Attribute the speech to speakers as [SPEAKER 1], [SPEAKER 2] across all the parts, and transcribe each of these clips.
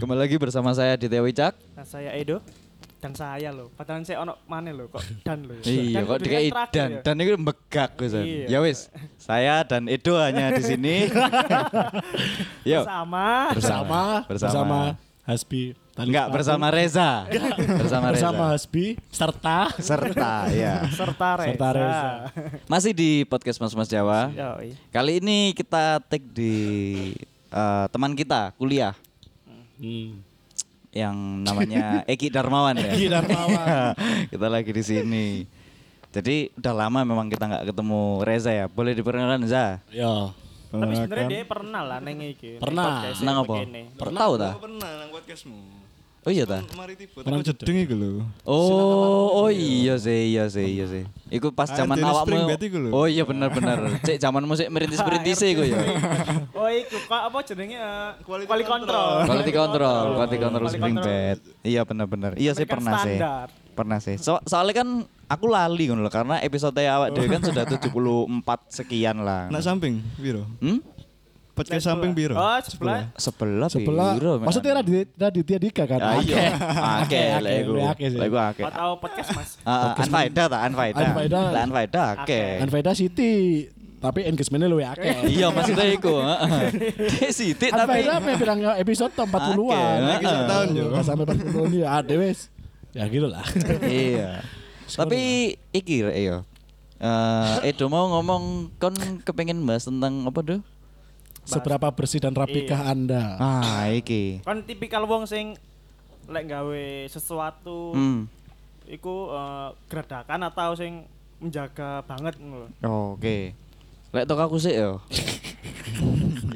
[SPEAKER 1] kembali lagi bersama saya di Wicak.
[SPEAKER 2] Dan Nah, saya Edo dan saya loh. Padahal saya ono maneh loh kok dan loh.
[SPEAKER 1] Iya,
[SPEAKER 2] Dan
[SPEAKER 1] kok
[SPEAKER 2] kebetulan
[SPEAKER 1] dikai
[SPEAKER 2] terakhir
[SPEAKER 1] dan
[SPEAKER 2] ya.
[SPEAKER 1] dan itu megak gue San.
[SPEAKER 2] Iya.
[SPEAKER 1] Ya wis, saya dan Edo hanya di sini. Yo,
[SPEAKER 2] sama
[SPEAKER 1] Bersama. Bersama.
[SPEAKER 3] bersama bersama Hasbi Talib
[SPEAKER 1] enggak
[SPEAKER 3] Paku,
[SPEAKER 1] bersama Reza. bersama Reza.
[SPEAKER 3] bersama Hasbi serta
[SPEAKER 1] serta ya.
[SPEAKER 2] serta Reza.
[SPEAKER 3] Serta Reza.
[SPEAKER 1] Masih di podcast Mas Mas Jawa.
[SPEAKER 2] Yoi.
[SPEAKER 1] Kali ini kita take di eh, teman kita kuliah
[SPEAKER 3] hmm.
[SPEAKER 1] yang namanya Eki Darmawan ya.
[SPEAKER 3] Egi Darmawan.
[SPEAKER 1] kita lagi di sini. Jadi udah lama memang kita nggak ketemu Reza ya. Boleh diperkenalkan Za?
[SPEAKER 3] ya
[SPEAKER 2] Tapi sebenarnya dia pernah lah neng iki. neng
[SPEAKER 3] Pernah.
[SPEAKER 2] podcast
[SPEAKER 1] kan.
[SPEAKER 2] yang
[SPEAKER 1] Nang apa?
[SPEAKER 2] begini.
[SPEAKER 1] Tahu ta?
[SPEAKER 4] Aku pernah nang podcastmu.
[SPEAKER 1] Oh iya ta?
[SPEAKER 4] Mari tiba.
[SPEAKER 3] Orang
[SPEAKER 4] Aku
[SPEAKER 3] jedeng.
[SPEAKER 4] jedeng iku lho.
[SPEAKER 1] Oh, oh iya sih, iya sih, iya sih. Iku pas
[SPEAKER 4] Ah,
[SPEAKER 1] zaman
[SPEAKER 4] Dennis Spring
[SPEAKER 1] awakmu.
[SPEAKER 4] Bed iku lho.
[SPEAKER 1] Oh iya benar benar. Cek zamanmu sik merintis-merintis sih iku ya.
[SPEAKER 2] Oh iku kok apa jenenge eh,
[SPEAKER 4] Quality
[SPEAKER 2] quality control.
[SPEAKER 1] Quality control, quality control
[SPEAKER 2] Quality
[SPEAKER 1] Spring
[SPEAKER 2] control.
[SPEAKER 1] Bed. Iya benar benar. Iya sih
[SPEAKER 2] American
[SPEAKER 1] pernah sih.
[SPEAKER 2] standar.
[SPEAKER 1] Pernah sih. So- soalnya kan aku lali ngono lho karena episode awak dhewe kan sudah 74 sekian lah.
[SPEAKER 4] Nak samping piro?
[SPEAKER 1] Hmm?
[SPEAKER 4] Podcast samping piro?
[SPEAKER 2] Oh, sebelah.
[SPEAKER 1] Sebelah
[SPEAKER 3] sebelah
[SPEAKER 1] piro, men?
[SPEAKER 3] maksudnya Radit Raditya Dika kan
[SPEAKER 1] Ah, Iya. Ake
[SPEAKER 3] Ake, ake,
[SPEAKER 1] lah iku.
[SPEAKER 3] lu ake sih.
[SPEAKER 1] Lah iku ake.
[SPEAKER 2] Nggak tahu podcast Mas.
[SPEAKER 1] Ah, ah, Anfaedah ta, Anfaedah.
[SPEAKER 3] Anfaedah.
[SPEAKER 1] Lah Anfaedah ake.
[SPEAKER 3] Anveda City tapi engagementnya lu ya Ake
[SPEAKER 1] Iya maksudnya iku. heeh. Dia sitik tapi
[SPEAKER 3] Anveda me pirang episode to 40-an
[SPEAKER 1] Ake,
[SPEAKER 3] Ake sak tahun yo Nggak sampai 40 ya ade wis ya gitu lah
[SPEAKER 1] iya. Tapi iki rek yo. Eh Edo mau ngomong kon kepengen bahas tentang apa do?
[SPEAKER 3] seberapa bersih dan rapikah anda
[SPEAKER 1] Ah, iki.
[SPEAKER 2] Kan tipikal wong sing lek gawe sesuatu
[SPEAKER 1] Hmm.
[SPEAKER 2] iku eh, geradakan atau sing menjaga banget ngono. lho.
[SPEAKER 1] Oke. Lek tok aku sih yo.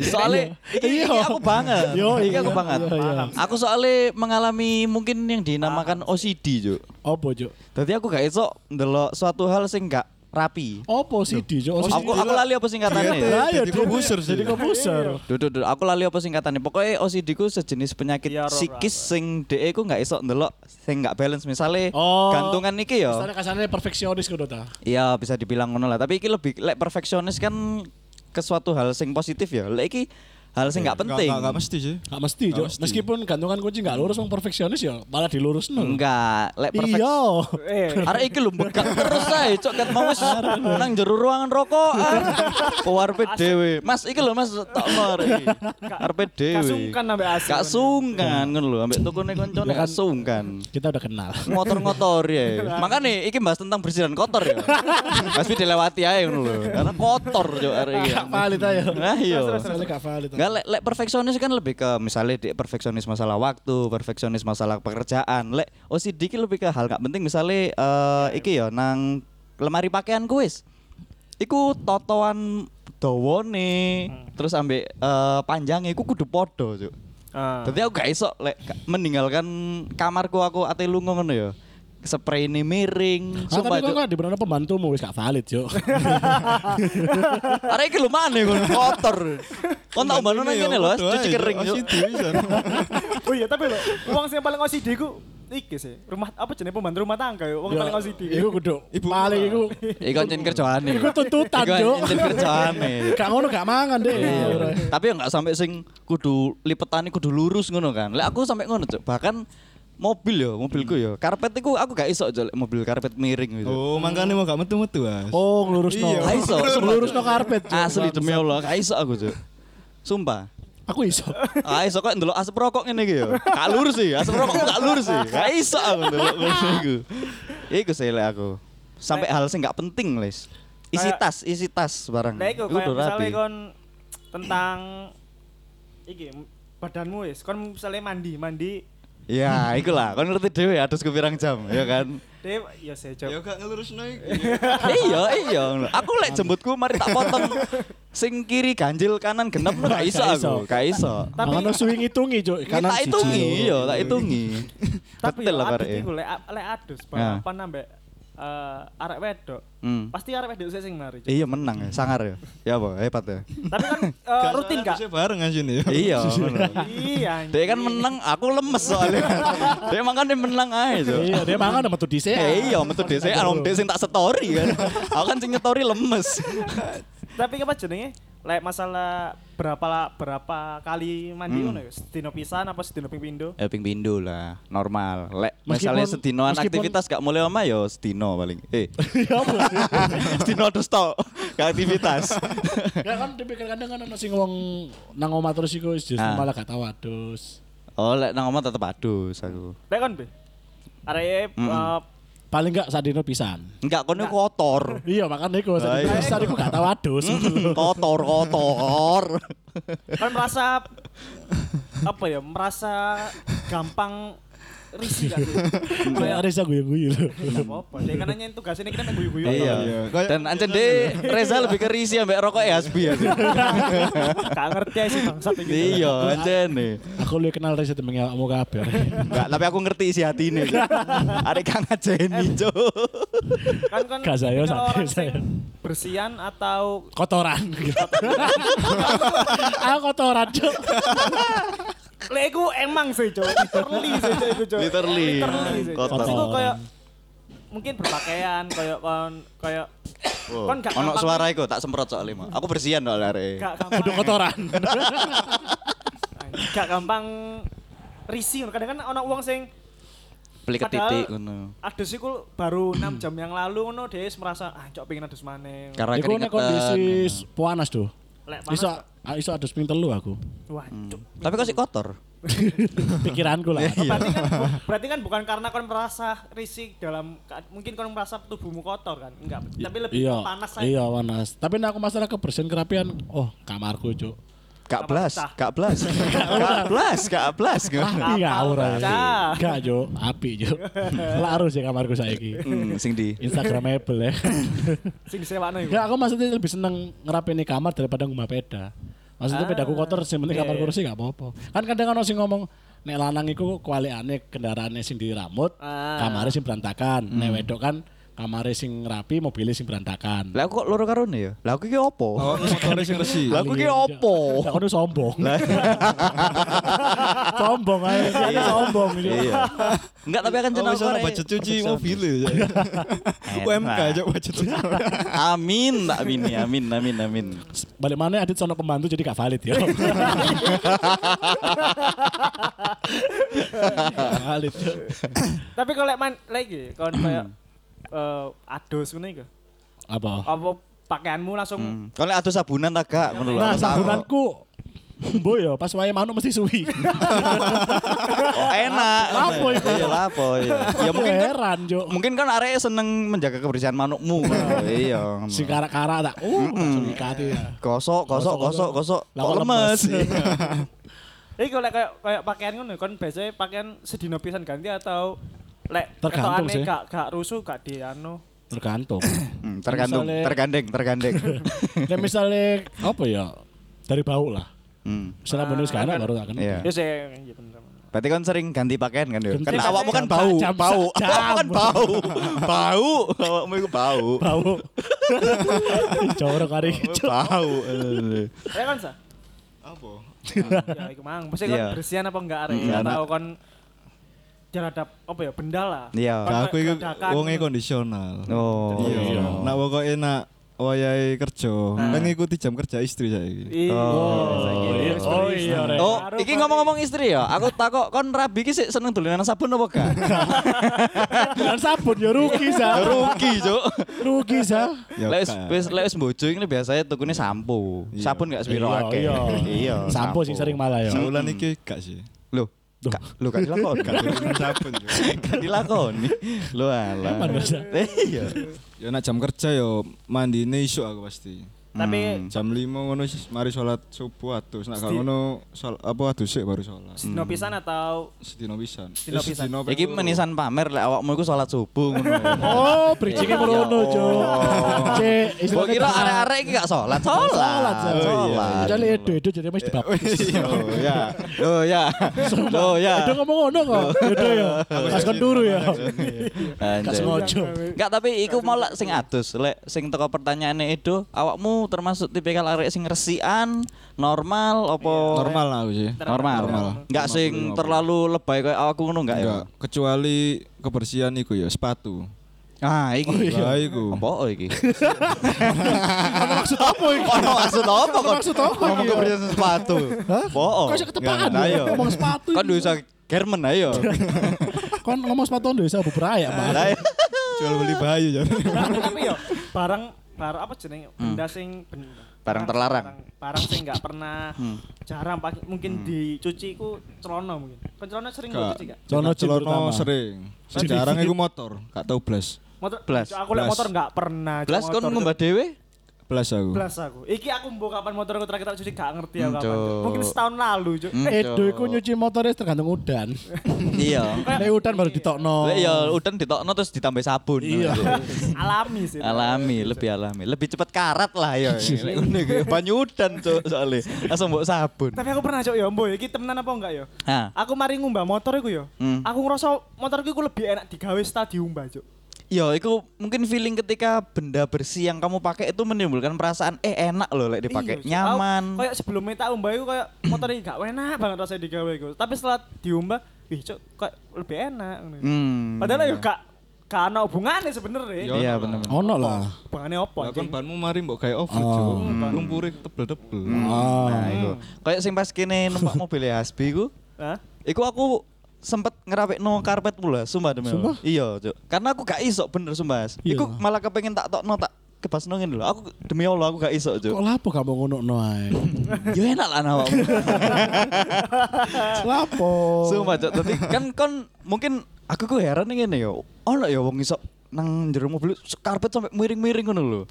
[SPEAKER 1] soalnya iki, iki aku banget.
[SPEAKER 3] Iya. Yo,
[SPEAKER 1] iki
[SPEAKER 3] iya,
[SPEAKER 1] aku banget.
[SPEAKER 3] iya, iya. Ah.
[SPEAKER 1] Aku soalnya mengalami mungkin yang dinamakan OCD, Juk.
[SPEAKER 3] opo jo
[SPEAKER 1] Dadi aku gak iso ndelok suatu hal sing gak rapi.
[SPEAKER 3] opo CD jo Oh,
[SPEAKER 1] Aku aku lali apa singkatannya ya?
[SPEAKER 3] Lah, ya,
[SPEAKER 4] Jadi
[SPEAKER 3] dia-
[SPEAKER 4] kompuser sih.
[SPEAKER 3] jadi kompuser
[SPEAKER 1] Duh, duh, duh, aku lali apa singkatannya. Pokoknya OCD ku sejenis penyakit
[SPEAKER 2] Iya, Roro,
[SPEAKER 1] psikis sing DE ku nggak iso ndelok sing nggak balance misalnya
[SPEAKER 3] Oh.
[SPEAKER 1] gantungan iki
[SPEAKER 3] Misalnya
[SPEAKER 1] ya.
[SPEAKER 3] kasarnya perfeksionis gitu, kudu ta.
[SPEAKER 1] Iya bisa dibilang ngono lah. Tapi iki lebih lek perfeksionis kan ke suatu hal sing positif ya. Lek iki hal sing nggak penting.
[SPEAKER 4] Enggak mesti sih.
[SPEAKER 3] Gak mesti, Jo.
[SPEAKER 4] Nggak mesti.
[SPEAKER 3] Meskipun gantungan kunci gak lurus, wong perfeksionis ya malah dilurus
[SPEAKER 1] Enggak, lek perfek.
[SPEAKER 3] Iya.
[SPEAKER 2] Eh,
[SPEAKER 1] Arek iki lho bekak terus ae, cok kat mau wis nang jero ruangan rokokan. Kuarpe dhewe. Mas iki lho Mas tok mar iki. Arpe dhewe.
[SPEAKER 2] kasungkan ambek asu.
[SPEAKER 1] Eh, Gak sungkan ngono lho, ambek tukune koncone gak sungkan.
[SPEAKER 3] Kita udah kenal.
[SPEAKER 1] ngotor-ngotor ya. Makanya iki bahas tentang bersih dan kotor ya. Pasti dilewati aja ngono lho. Karena kotor yo arek iki.
[SPEAKER 3] Gak valid aja.
[SPEAKER 1] Nah, iya.
[SPEAKER 3] Misalnya gak valid.
[SPEAKER 1] Enggak lek lek perfeksionis kan lebih ke misalnya di perfeksionis masalah waktu, perfeksionis masalah pekerjaan. Lek oh, OCD ki lebih ke hal gak penting misalnya eh iki ya nang lemari pakaian kuis. Iku totoan dawane terus ambek eh, panjangnya iku kudu podo, Cuk.
[SPEAKER 2] Ah.
[SPEAKER 1] Tapi aku gak iso lek ka- meninggalkan kamarku aku ate lunga ngono ya. Spray ini miring,
[SPEAKER 3] Ah,
[SPEAKER 1] sumpah itu.
[SPEAKER 3] tapi kok gak dibenerno pembantumu wis gak valid, Jo.
[SPEAKER 1] Arek iki lumane ngono kotor. Kon tak umbano nang kene lho,
[SPEAKER 4] ya, Waduh,
[SPEAKER 1] cuci
[SPEAKER 4] ayo,
[SPEAKER 1] kering. Cuk.
[SPEAKER 4] OCD bisa.
[SPEAKER 2] Oh iya, tapi lho, wong sing paling OCD ku iki sih. Rumah apa jenenge pembantu rumah tangga ya, wong
[SPEAKER 3] Ya,
[SPEAKER 2] paling OCD.
[SPEAKER 3] Iku kudu.
[SPEAKER 4] Ibu.
[SPEAKER 3] Paling iku
[SPEAKER 1] Iku ancen kerjaane.
[SPEAKER 3] iku tuntutan,
[SPEAKER 1] Iku
[SPEAKER 3] Jo.
[SPEAKER 1] ancen kerjaane.
[SPEAKER 3] Gak ngono gak mangan deh.
[SPEAKER 1] Iya. Tapi enggak sampai sing kudu lipetane kudu lurus ngono kan. Lek aku sampai ngono, Cuk. Bahkan mobil ya, mobilku ya. Karpet iku aku gak iso, Cuk, lek mobil karpet miring gitu.
[SPEAKER 4] Oh, makanya mau gak metu-metu, Mas.
[SPEAKER 3] Oh, ngelurusno.
[SPEAKER 4] Iya.
[SPEAKER 1] Gak Ah, iso, sumpah.
[SPEAKER 3] Ngelurusno karpet, Jo.
[SPEAKER 1] Asli demi Allah, gak iso aku, Cuk. Sumpah.
[SPEAKER 3] Aku iso.
[SPEAKER 1] Ah, iso kok ndelok asap rokok ngene iki ya. Gak lurus sih, asap rokok gak lurus sih. Gak iso aku ndelok ngono iku. Iku sih lek aku. Sampai hal sing gak penting, Les. Isi
[SPEAKER 2] Kayak-
[SPEAKER 1] tas, isi tas barang.
[SPEAKER 2] Lah iku
[SPEAKER 1] Iku
[SPEAKER 2] kayak
[SPEAKER 1] udah
[SPEAKER 2] misalnya
[SPEAKER 1] rapi.
[SPEAKER 2] kon tentang iki badanmu wis, kon misalnya mandi, mandi
[SPEAKER 1] Ya, iku lah. Kon ngerti dhewe atus kupirang jam, ya kan?
[SPEAKER 2] deh ya saya
[SPEAKER 4] Ya
[SPEAKER 2] jawab.
[SPEAKER 4] gak ngelurusno iki.
[SPEAKER 1] iya, iya. Aku lek jembutku mari tak potong. Sing kiri ganjil, kanan genep gak iso
[SPEAKER 3] Gak iso.
[SPEAKER 1] aku, gak iso.
[SPEAKER 2] Tapi-
[SPEAKER 3] Tapi swing hitungi, Jo.
[SPEAKER 1] Ini
[SPEAKER 3] Kanan
[SPEAKER 1] tak
[SPEAKER 3] siji,
[SPEAKER 1] hitungi,
[SPEAKER 3] loro.
[SPEAKER 1] iya, tak hitungi.
[SPEAKER 2] Tapi
[SPEAKER 1] Betul
[SPEAKER 2] ya
[SPEAKER 1] lah
[SPEAKER 2] adus
[SPEAKER 1] bareke.
[SPEAKER 2] iku lek lek adus
[SPEAKER 1] Ya.
[SPEAKER 2] balapan ambek eh, arek wedok.
[SPEAKER 1] Hmm.
[SPEAKER 2] Pasti arek wedok sih sing mari.
[SPEAKER 1] Iya menang ya, sangar ya. Ya apa, hebat ya.
[SPEAKER 2] Tapi kan eh,
[SPEAKER 4] Gak
[SPEAKER 2] rutin
[SPEAKER 4] soalnya
[SPEAKER 2] gak?
[SPEAKER 4] harusnya bareng anjene ya.
[SPEAKER 1] Iya, bener.
[SPEAKER 2] Iya.
[SPEAKER 1] Dia kan menang, aku lemes soalnya. dia makanya menang aja. So.
[SPEAKER 3] Iya, dia mangan sama tuh dhisik.
[SPEAKER 1] Eh iya, metu desa alom desa yang tak story kan. Aku kan sing nyetori lemes.
[SPEAKER 2] Tapi apa jenenge? Lek masalah berapa berapa kali mandi
[SPEAKER 1] Hmm.
[SPEAKER 2] ngono ya? Sedino pisan apa sedino ping pindho?
[SPEAKER 1] Eh ping pindho lah, normal. Lek
[SPEAKER 3] Meskipun-
[SPEAKER 1] misalnya setinoan
[SPEAKER 3] meskipun-
[SPEAKER 1] aktivitas gak mulai oma yo setino paling. Eh.
[SPEAKER 3] Ya,
[SPEAKER 1] setino terus tok gak aktivitas.
[SPEAKER 3] Ya kan dipikir kadang kan ono sing ngomong nang omah terus iku wis justru
[SPEAKER 1] Ah.
[SPEAKER 3] malah gak tau adus.
[SPEAKER 1] oh, lek nang oma tetep adus aku.
[SPEAKER 2] Lek kon be. Arek eh,
[SPEAKER 1] Mm-mm.
[SPEAKER 3] Paling gak sadino pisan.
[SPEAKER 1] Enggak kono kotor.
[SPEAKER 3] Iya makanya iku sadino
[SPEAKER 1] Lah, iya. Hmm.
[SPEAKER 3] pisan iku gak tau adus.
[SPEAKER 1] kotor kotor.
[SPEAKER 2] kan merasa apa ya? Merasa gampang risih kan.
[SPEAKER 3] Kayak Reza guyu-guyu lho.
[SPEAKER 2] apa-apa. Dek kan hanya tugasnya kita nang guyu-guyu.
[SPEAKER 4] Iya.
[SPEAKER 1] iya.
[SPEAKER 4] Kayak-
[SPEAKER 1] Dan ancen deh Reza lebih kerisi ambek rokok ya Hasbi ya.
[SPEAKER 2] Gak ngerti aja sih bangsat iki.
[SPEAKER 1] Iya, ancen nih.
[SPEAKER 3] Aku lu kenal Reza temen kamu kabeh.
[SPEAKER 1] Enggak, tapi aku ngerti isi hati ini. Ada kang ajeni, Cuk.
[SPEAKER 2] Kan kan
[SPEAKER 3] Gak saya,
[SPEAKER 2] tipikal
[SPEAKER 3] santai
[SPEAKER 2] orang sing
[SPEAKER 3] saya.
[SPEAKER 2] bersihan atau
[SPEAKER 3] Kotoran. Aku kotoran cuk.
[SPEAKER 2] Lek iku emang sih, Cok. Literally sih, Cok, iku, Cok.
[SPEAKER 1] Literally.
[SPEAKER 2] Literally sih, Cok.
[SPEAKER 1] Kotor.
[SPEAKER 2] Terus iku kayak mungkin berpakaian kayak kon kayak
[SPEAKER 1] Oh,
[SPEAKER 2] Kon gak
[SPEAKER 1] ono
[SPEAKER 2] gampang-
[SPEAKER 1] suara iku tak semprot soalnya Mak. Aku bersihan soalnya arek.
[SPEAKER 2] gak
[SPEAKER 3] Kudu
[SPEAKER 2] gampang
[SPEAKER 3] kotoran.
[SPEAKER 2] gak gampang risih kadang kan ono wong sing
[SPEAKER 1] Beli
[SPEAKER 2] Padahal-
[SPEAKER 1] ketitik ngono.
[SPEAKER 2] adus iku baru 6 jam yang lalu ngono dia merasa ah cok pengen adus maneh.
[SPEAKER 1] Karena
[SPEAKER 3] Iku nek kondisi s- panas tuh.
[SPEAKER 2] Lek panas,
[SPEAKER 3] Iso ah, iso adus ping telu aku.
[SPEAKER 2] Wah,
[SPEAKER 1] Hmm.
[SPEAKER 2] cok.
[SPEAKER 1] Tapi kok sih kotor?
[SPEAKER 3] Pikiranku lah.
[SPEAKER 1] Iya.
[SPEAKER 2] Berarti kan bu- berarti kan bukan karena kon merasa risih dalam ka- mungkin kon merasa tubuhmu kotor kan? Enggak, tapi lebih
[SPEAKER 3] Iya.
[SPEAKER 2] panas aja.
[SPEAKER 3] Iya panas. Tapi nek aku masalah kebersihan kerapian, oh kamarku cuk.
[SPEAKER 1] Gak
[SPEAKER 2] Apa
[SPEAKER 1] blas,
[SPEAKER 2] pecah?
[SPEAKER 1] gak blas. Gak blas, gak blas. ngono.
[SPEAKER 3] Api gak Iya, aura.
[SPEAKER 2] Cah.
[SPEAKER 3] Gak cuk, api cuk. Larus ya kamarku saiki.
[SPEAKER 1] Hmm, sing di.
[SPEAKER 3] Instagramable ya.
[SPEAKER 2] Sing disewakno iku.
[SPEAKER 3] Enggak, aku maksudnya lebih seneng ngerapin di kamar daripada ngumah peda. Maksudnya
[SPEAKER 2] Ah,
[SPEAKER 3] pedaku kotor sih, penting
[SPEAKER 2] iya,
[SPEAKER 3] kamar
[SPEAKER 2] iya.
[SPEAKER 3] kursi gak apa-apa. Kan kadang kan sing ngomong nek lanang iku kualekane kendaraane sing diramut,
[SPEAKER 2] Ah. Hmm.
[SPEAKER 3] kamare sing berantakan. Nek wedok kan kamare sing rapi, mobilnya sing berantakan.
[SPEAKER 1] Lah aku kok loro karone ya? Lah aku ki opo?
[SPEAKER 4] Oh, motornya sing resi.
[SPEAKER 1] Lah aku ki opo?
[SPEAKER 3] Iya, Lah kono sombong. sombong ae, Ini sombong.
[SPEAKER 1] Iya. Enggak tapi akan
[SPEAKER 4] Oh,
[SPEAKER 1] jeneng
[SPEAKER 4] misalnya budget cuci mobil ya. UMK aja budget cuci.
[SPEAKER 1] Amin, tak amin, amin, amin, amin.
[SPEAKER 3] Balik mana adit sono pembantu jadi gak valid yo.
[SPEAKER 1] Hmm.
[SPEAKER 3] valid. yo.
[SPEAKER 2] Tapi kalau lek man lagi kon kayak eh adus ngono iku.
[SPEAKER 3] Apa?
[SPEAKER 2] Apa pakaianmu langsung
[SPEAKER 1] Hmm. Kalau atuh sabunan tak gak menurut
[SPEAKER 3] Nah, sabunanku Mbo ya, pas wae manuk mesti suwi.
[SPEAKER 1] Oh, enak.
[SPEAKER 3] Lapo itu?
[SPEAKER 1] Iya, lapo. Iya. Ya
[SPEAKER 3] Ya
[SPEAKER 1] mungkin kan
[SPEAKER 3] heran, Cuk.
[SPEAKER 1] mungkin kan arek seneng menjaga kebersihan
[SPEAKER 3] Nah,
[SPEAKER 1] manukmu. iya.
[SPEAKER 3] Si karak-karak tak. Oh, langsung ikati ya.
[SPEAKER 1] Kosok, kosok, kosok,
[SPEAKER 3] Gosok,
[SPEAKER 1] kosok.
[SPEAKER 3] Lah,
[SPEAKER 1] Kok
[SPEAKER 3] kok
[SPEAKER 1] lemes?
[SPEAKER 3] lemes? ya. Iya.
[SPEAKER 2] Iku lek kayak kayak pakaian ngono kon biasanya pakaian sedina pisan ganti atau lek
[SPEAKER 3] Tergantung
[SPEAKER 2] ketokane
[SPEAKER 3] sih.
[SPEAKER 2] gak gak rusuh gak di anu.
[SPEAKER 3] Tergantung.
[SPEAKER 1] Hmm, tergantung,
[SPEAKER 3] Misalnya-
[SPEAKER 1] tergandeng, tergandeng.
[SPEAKER 3] Nek misale apa ya? Dari bau lah.
[SPEAKER 1] Hmm.
[SPEAKER 3] Misalnya bonus
[SPEAKER 2] Ah,
[SPEAKER 3] kanak
[SPEAKER 2] kan.
[SPEAKER 3] baru tak kena.
[SPEAKER 1] Iya.
[SPEAKER 2] Ya sih iya bener.
[SPEAKER 1] Berarti kan sering ganti pakaian kan yo.
[SPEAKER 3] Ganti
[SPEAKER 1] Kan
[SPEAKER 3] pakaian.
[SPEAKER 1] awakmu kan
[SPEAKER 3] Jam-
[SPEAKER 1] bau,
[SPEAKER 3] jam-
[SPEAKER 1] bau.
[SPEAKER 3] jam.
[SPEAKER 1] Awakmu kan bau. Bau. Awakmu iku bau.
[SPEAKER 3] Bau. Jorok hari iki, Cuk.
[SPEAKER 1] Bau.
[SPEAKER 2] Ya kan sa?
[SPEAKER 4] Apa?
[SPEAKER 2] Ya iku mang. Mesti kon
[SPEAKER 1] Iya.
[SPEAKER 2] bersihan apa enggak arek?
[SPEAKER 1] Hmm,
[SPEAKER 2] Gak
[SPEAKER 1] enak.
[SPEAKER 2] tahu kon terhadap apa ya benda lah.
[SPEAKER 1] Iya.
[SPEAKER 2] Kon
[SPEAKER 4] Nah, aku
[SPEAKER 2] kayak
[SPEAKER 4] iku
[SPEAKER 2] dadakan
[SPEAKER 4] wonge
[SPEAKER 2] ngono.
[SPEAKER 4] kondisional.
[SPEAKER 1] Oh.
[SPEAKER 4] Iya. Nak pokoke nak wayahe kerja, nang ngikuti jam kerja istri saiki.
[SPEAKER 2] Iya.
[SPEAKER 1] Oh,
[SPEAKER 2] Iya,
[SPEAKER 3] iya. Oh, iya, Rek.
[SPEAKER 1] Oh,
[SPEAKER 2] Baru
[SPEAKER 1] iki
[SPEAKER 2] kon-
[SPEAKER 1] ngomong-ngomong istri ya. Aku takok kon Rabi iki sik seneng dolanan sabun apa gak?
[SPEAKER 3] Bukan sabun ya rugi sa.
[SPEAKER 1] Rugi, Cuk.
[SPEAKER 3] Rugi sa.
[SPEAKER 4] Ya,
[SPEAKER 1] Lek wis
[SPEAKER 4] Kak.
[SPEAKER 1] wis lek wis bojo iki biasanya tukune sampo.
[SPEAKER 4] Iya.
[SPEAKER 1] Sabun gak sepiro
[SPEAKER 3] Iya,
[SPEAKER 1] akeh.
[SPEAKER 3] iya. Sampo sih sering malah ya.
[SPEAKER 4] Saulan iki gak sih.
[SPEAKER 1] Loh,
[SPEAKER 3] Duh.
[SPEAKER 1] Ka- Lu kan dilakon,
[SPEAKER 4] Gak turunan sabun. yo.
[SPEAKER 1] kan dilakoni. Lu alah.
[SPEAKER 3] Kapan, Mas?
[SPEAKER 1] Iya.
[SPEAKER 4] Ya nak jam kerja yo mandine isuk aku pasti.
[SPEAKER 1] Hmm.
[SPEAKER 2] Tapi
[SPEAKER 4] Jam 5 ngono sis- mari sholat subuh atus. Nak
[SPEAKER 2] Sti-
[SPEAKER 4] gak ngono shol- apa atus sik baru sholat.
[SPEAKER 2] sedina pisan atau
[SPEAKER 4] Sedino pisan.
[SPEAKER 2] Sedino
[SPEAKER 4] Eh,
[SPEAKER 2] pisan.
[SPEAKER 4] sedino
[SPEAKER 1] Hmm.
[SPEAKER 4] ping
[SPEAKER 1] Iki
[SPEAKER 4] telu.
[SPEAKER 1] menisan pamer lek awakmu iku salat subuh ngono. ya.
[SPEAKER 3] Oh, bridging-nya
[SPEAKER 1] Iya.
[SPEAKER 3] merono, Cuk. Cek,
[SPEAKER 1] Mbok kira arek-arek iki gak salat, salat.
[SPEAKER 3] Sa.
[SPEAKER 4] Oh, iya.
[SPEAKER 1] Salat.
[SPEAKER 3] Jadi edo-edo jadi mesti dibaptis.
[SPEAKER 1] Oh ya. Oh ya. Oh ya.
[SPEAKER 3] Edo ngomong ngono kok. Edo ya. Pas kon turu ya. Gak
[SPEAKER 1] Anjay.
[SPEAKER 3] sengaja.
[SPEAKER 1] Enggak tapi iku mau lek sing adus lek sing teko pertanyaane Edo awakmu termasuk tipikal arek sing resikan Iya, normal apa
[SPEAKER 4] normal lah aku sih.
[SPEAKER 1] normal
[SPEAKER 4] Normal.
[SPEAKER 1] enggak sing
[SPEAKER 4] Normal.
[SPEAKER 1] terlalu lebay kayak aku ngono enggak ya
[SPEAKER 4] Enggak, kecuali kebersihan iku ya sepatu.
[SPEAKER 1] Ah, iki.
[SPEAKER 4] Lah iku.
[SPEAKER 1] Apa oh, iki?
[SPEAKER 3] Ono maksud apa iki?
[SPEAKER 1] Ono maksud apa kon?
[SPEAKER 3] Maksud apa iki? ya?
[SPEAKER 1] Ngomong kebersihan sepatu. Bohong.
[SPEAKER 3] Kok iso ketepaan
[SPEAKER 1] Nggak,
[SPEAKER 3] ya?
[SPEAKER 1] ayo.
[SPEAKER 3] Ngomong sepatu
[SPEAKER 1] Kan
[SPEAKER 3] ini.
[SPEAKER 1] duwe German ya? ayo.
[SPEAKER 3] Kon ngomong sepatu Indonesia beberapa ya, Pak.
[SPEAKER 1] Lah, iya.
[SPEAKER 4] Jual beli bayu ya.
[SPEAKER 2] Tapi- tapi yo barang barang apa jenenge benda sing ben-
[SPEAKER 1] Hmm. Barang terlarang. Hmm.
[SPEAKER 2] barang- barang sing nggak pernah jarang pakai mungkin dicuci ku celana mungkin kan celana sering gak cuci gak
[SPEAKER 3] Celana jeans
[SPEAKER 4] celono
[SPEAKER 3] terutama.
[SPEAKER 4] sering. Sejarang iku motor, gak tau blas.
[SPEAKER 2] motor
[SPEAKER 1] Blas.
[SPEAKER 2] aku lek
[SPEAKER 4] Blas.
[SPEAKER 2] motor nggak pernah cuci
[SPEAKER 1] Blas kon
[SPEAKER 2] motor.
[SPEAKER 1] ngembah dhewe?
[SPEAKER 4] Blas aku.
[SPEAKER 2] Blas aku iki aku mbok kapan motor aku terakhir tak cuci gak ngerti aku
[SPEAKER 1] Hmm,
[SPEAKER 2] kapan
[SPEAKER 1] Cuk.
[SPEAKER 2] mungkin setahun lalu cuk
[SPEAKER 1] Hmm.
[SPEAKER 2] eh
[SPEAKER 3] Edo iku nyuci motornya tergantung udan.
[SPEAKER 1] Iya.
[SPEAKER 3] Nek udan baru ditokno.
[SPEAKER 1] Lek ya udan ditokno terus ditambah sabun.
[SPEAKER 3] Iya.
[SPEAKER 2] alami sih
[SPEAKER 1] alami, lebih alami. Lebih cepet karat lah ya.
[SPEAKER 2] Iya.
[SPEAKER 1] Lek ngene iki banyu udan cuk soalnya. Langsung mbok sabun. Nah,
[SPEAKER 2] tapi aku pernah cuk yo mbok iki temenan apa enggak yo
[SPEAKER 1] Ha.
[SPEAKER 2] aku mari ngumbah motor iku yo
[SPEAKER 1] Hmm.
[SPEAKER 2] aku ngerasa motorku iku lebih enak digawe setelah diumbah cuk
[SPEAKER 1] Ya, itu mungkin feeling ketika benda bersih yang kamu pakai itu menimbulkan perasaan eh enak loh lek dipakai,
[SPEAKER 2] Iya, aku-
[SPEAKER 1] nyaman.
[SPEAKER 2] Kayak sebelumnya tak umbah itu kayak motor ini gak enak banget rasanya digawe iku. Tapi setelah diumbah, wih cok kayak lebih enak. ngono.
[SPEAKER 1] Hmm.
[SPEAKER 2] Padahal ya gak gak ana hubungane sebenarnya.
[SPEAKER 4] Yo.
[SPEAKER 1] Iya, kan benar.
[SPEAKER 3] Ono lah.
[SPEAKER 2] Hubungane opo
[SPEAKER 4] Lah
[SPEAKER 2] anjing?
[SPEAKER 4] kon banmu mari mbok gawe over, Cuk.
[SPEAKER 2] Hmm.
[SPEAKER 4] Lumpure tebel-tebel.
[SPEAKER 3] Ah.
[SPEAKER 1] Nah, iku. Kayak sing pas kene numpak mobil ya, Hasbi ku,
[SPEAKER 2] Hah?
[SPEAKER 1] iku aku sempet ngerapik no karpet mula, sumpah demi Allah. Iya, Cuk. Karena aku gak iso bener sumpah. Mas.
[SPEAKER 3] Iya.
[SPEAKER 1] Iku malah kepengen tak tokno tak kebas nongin dulu. Aku demi Allah aku gak iso,
[SPEAKER 3] Kok
[SPEAKER 1] Cuk.
[SPEAKER 3] lapo kamu ngono noai?
[SPEAKER 1] ya enak lah awakmu.
[SPEAKER 3] Lapo?
[SPEAKER 1] Sumpah cok, tapi kan kon mungkin aku ku heran nih ngene yo. Ono ya wong iso nang jero mobil se- karpet sampai miring-miring ngono lho.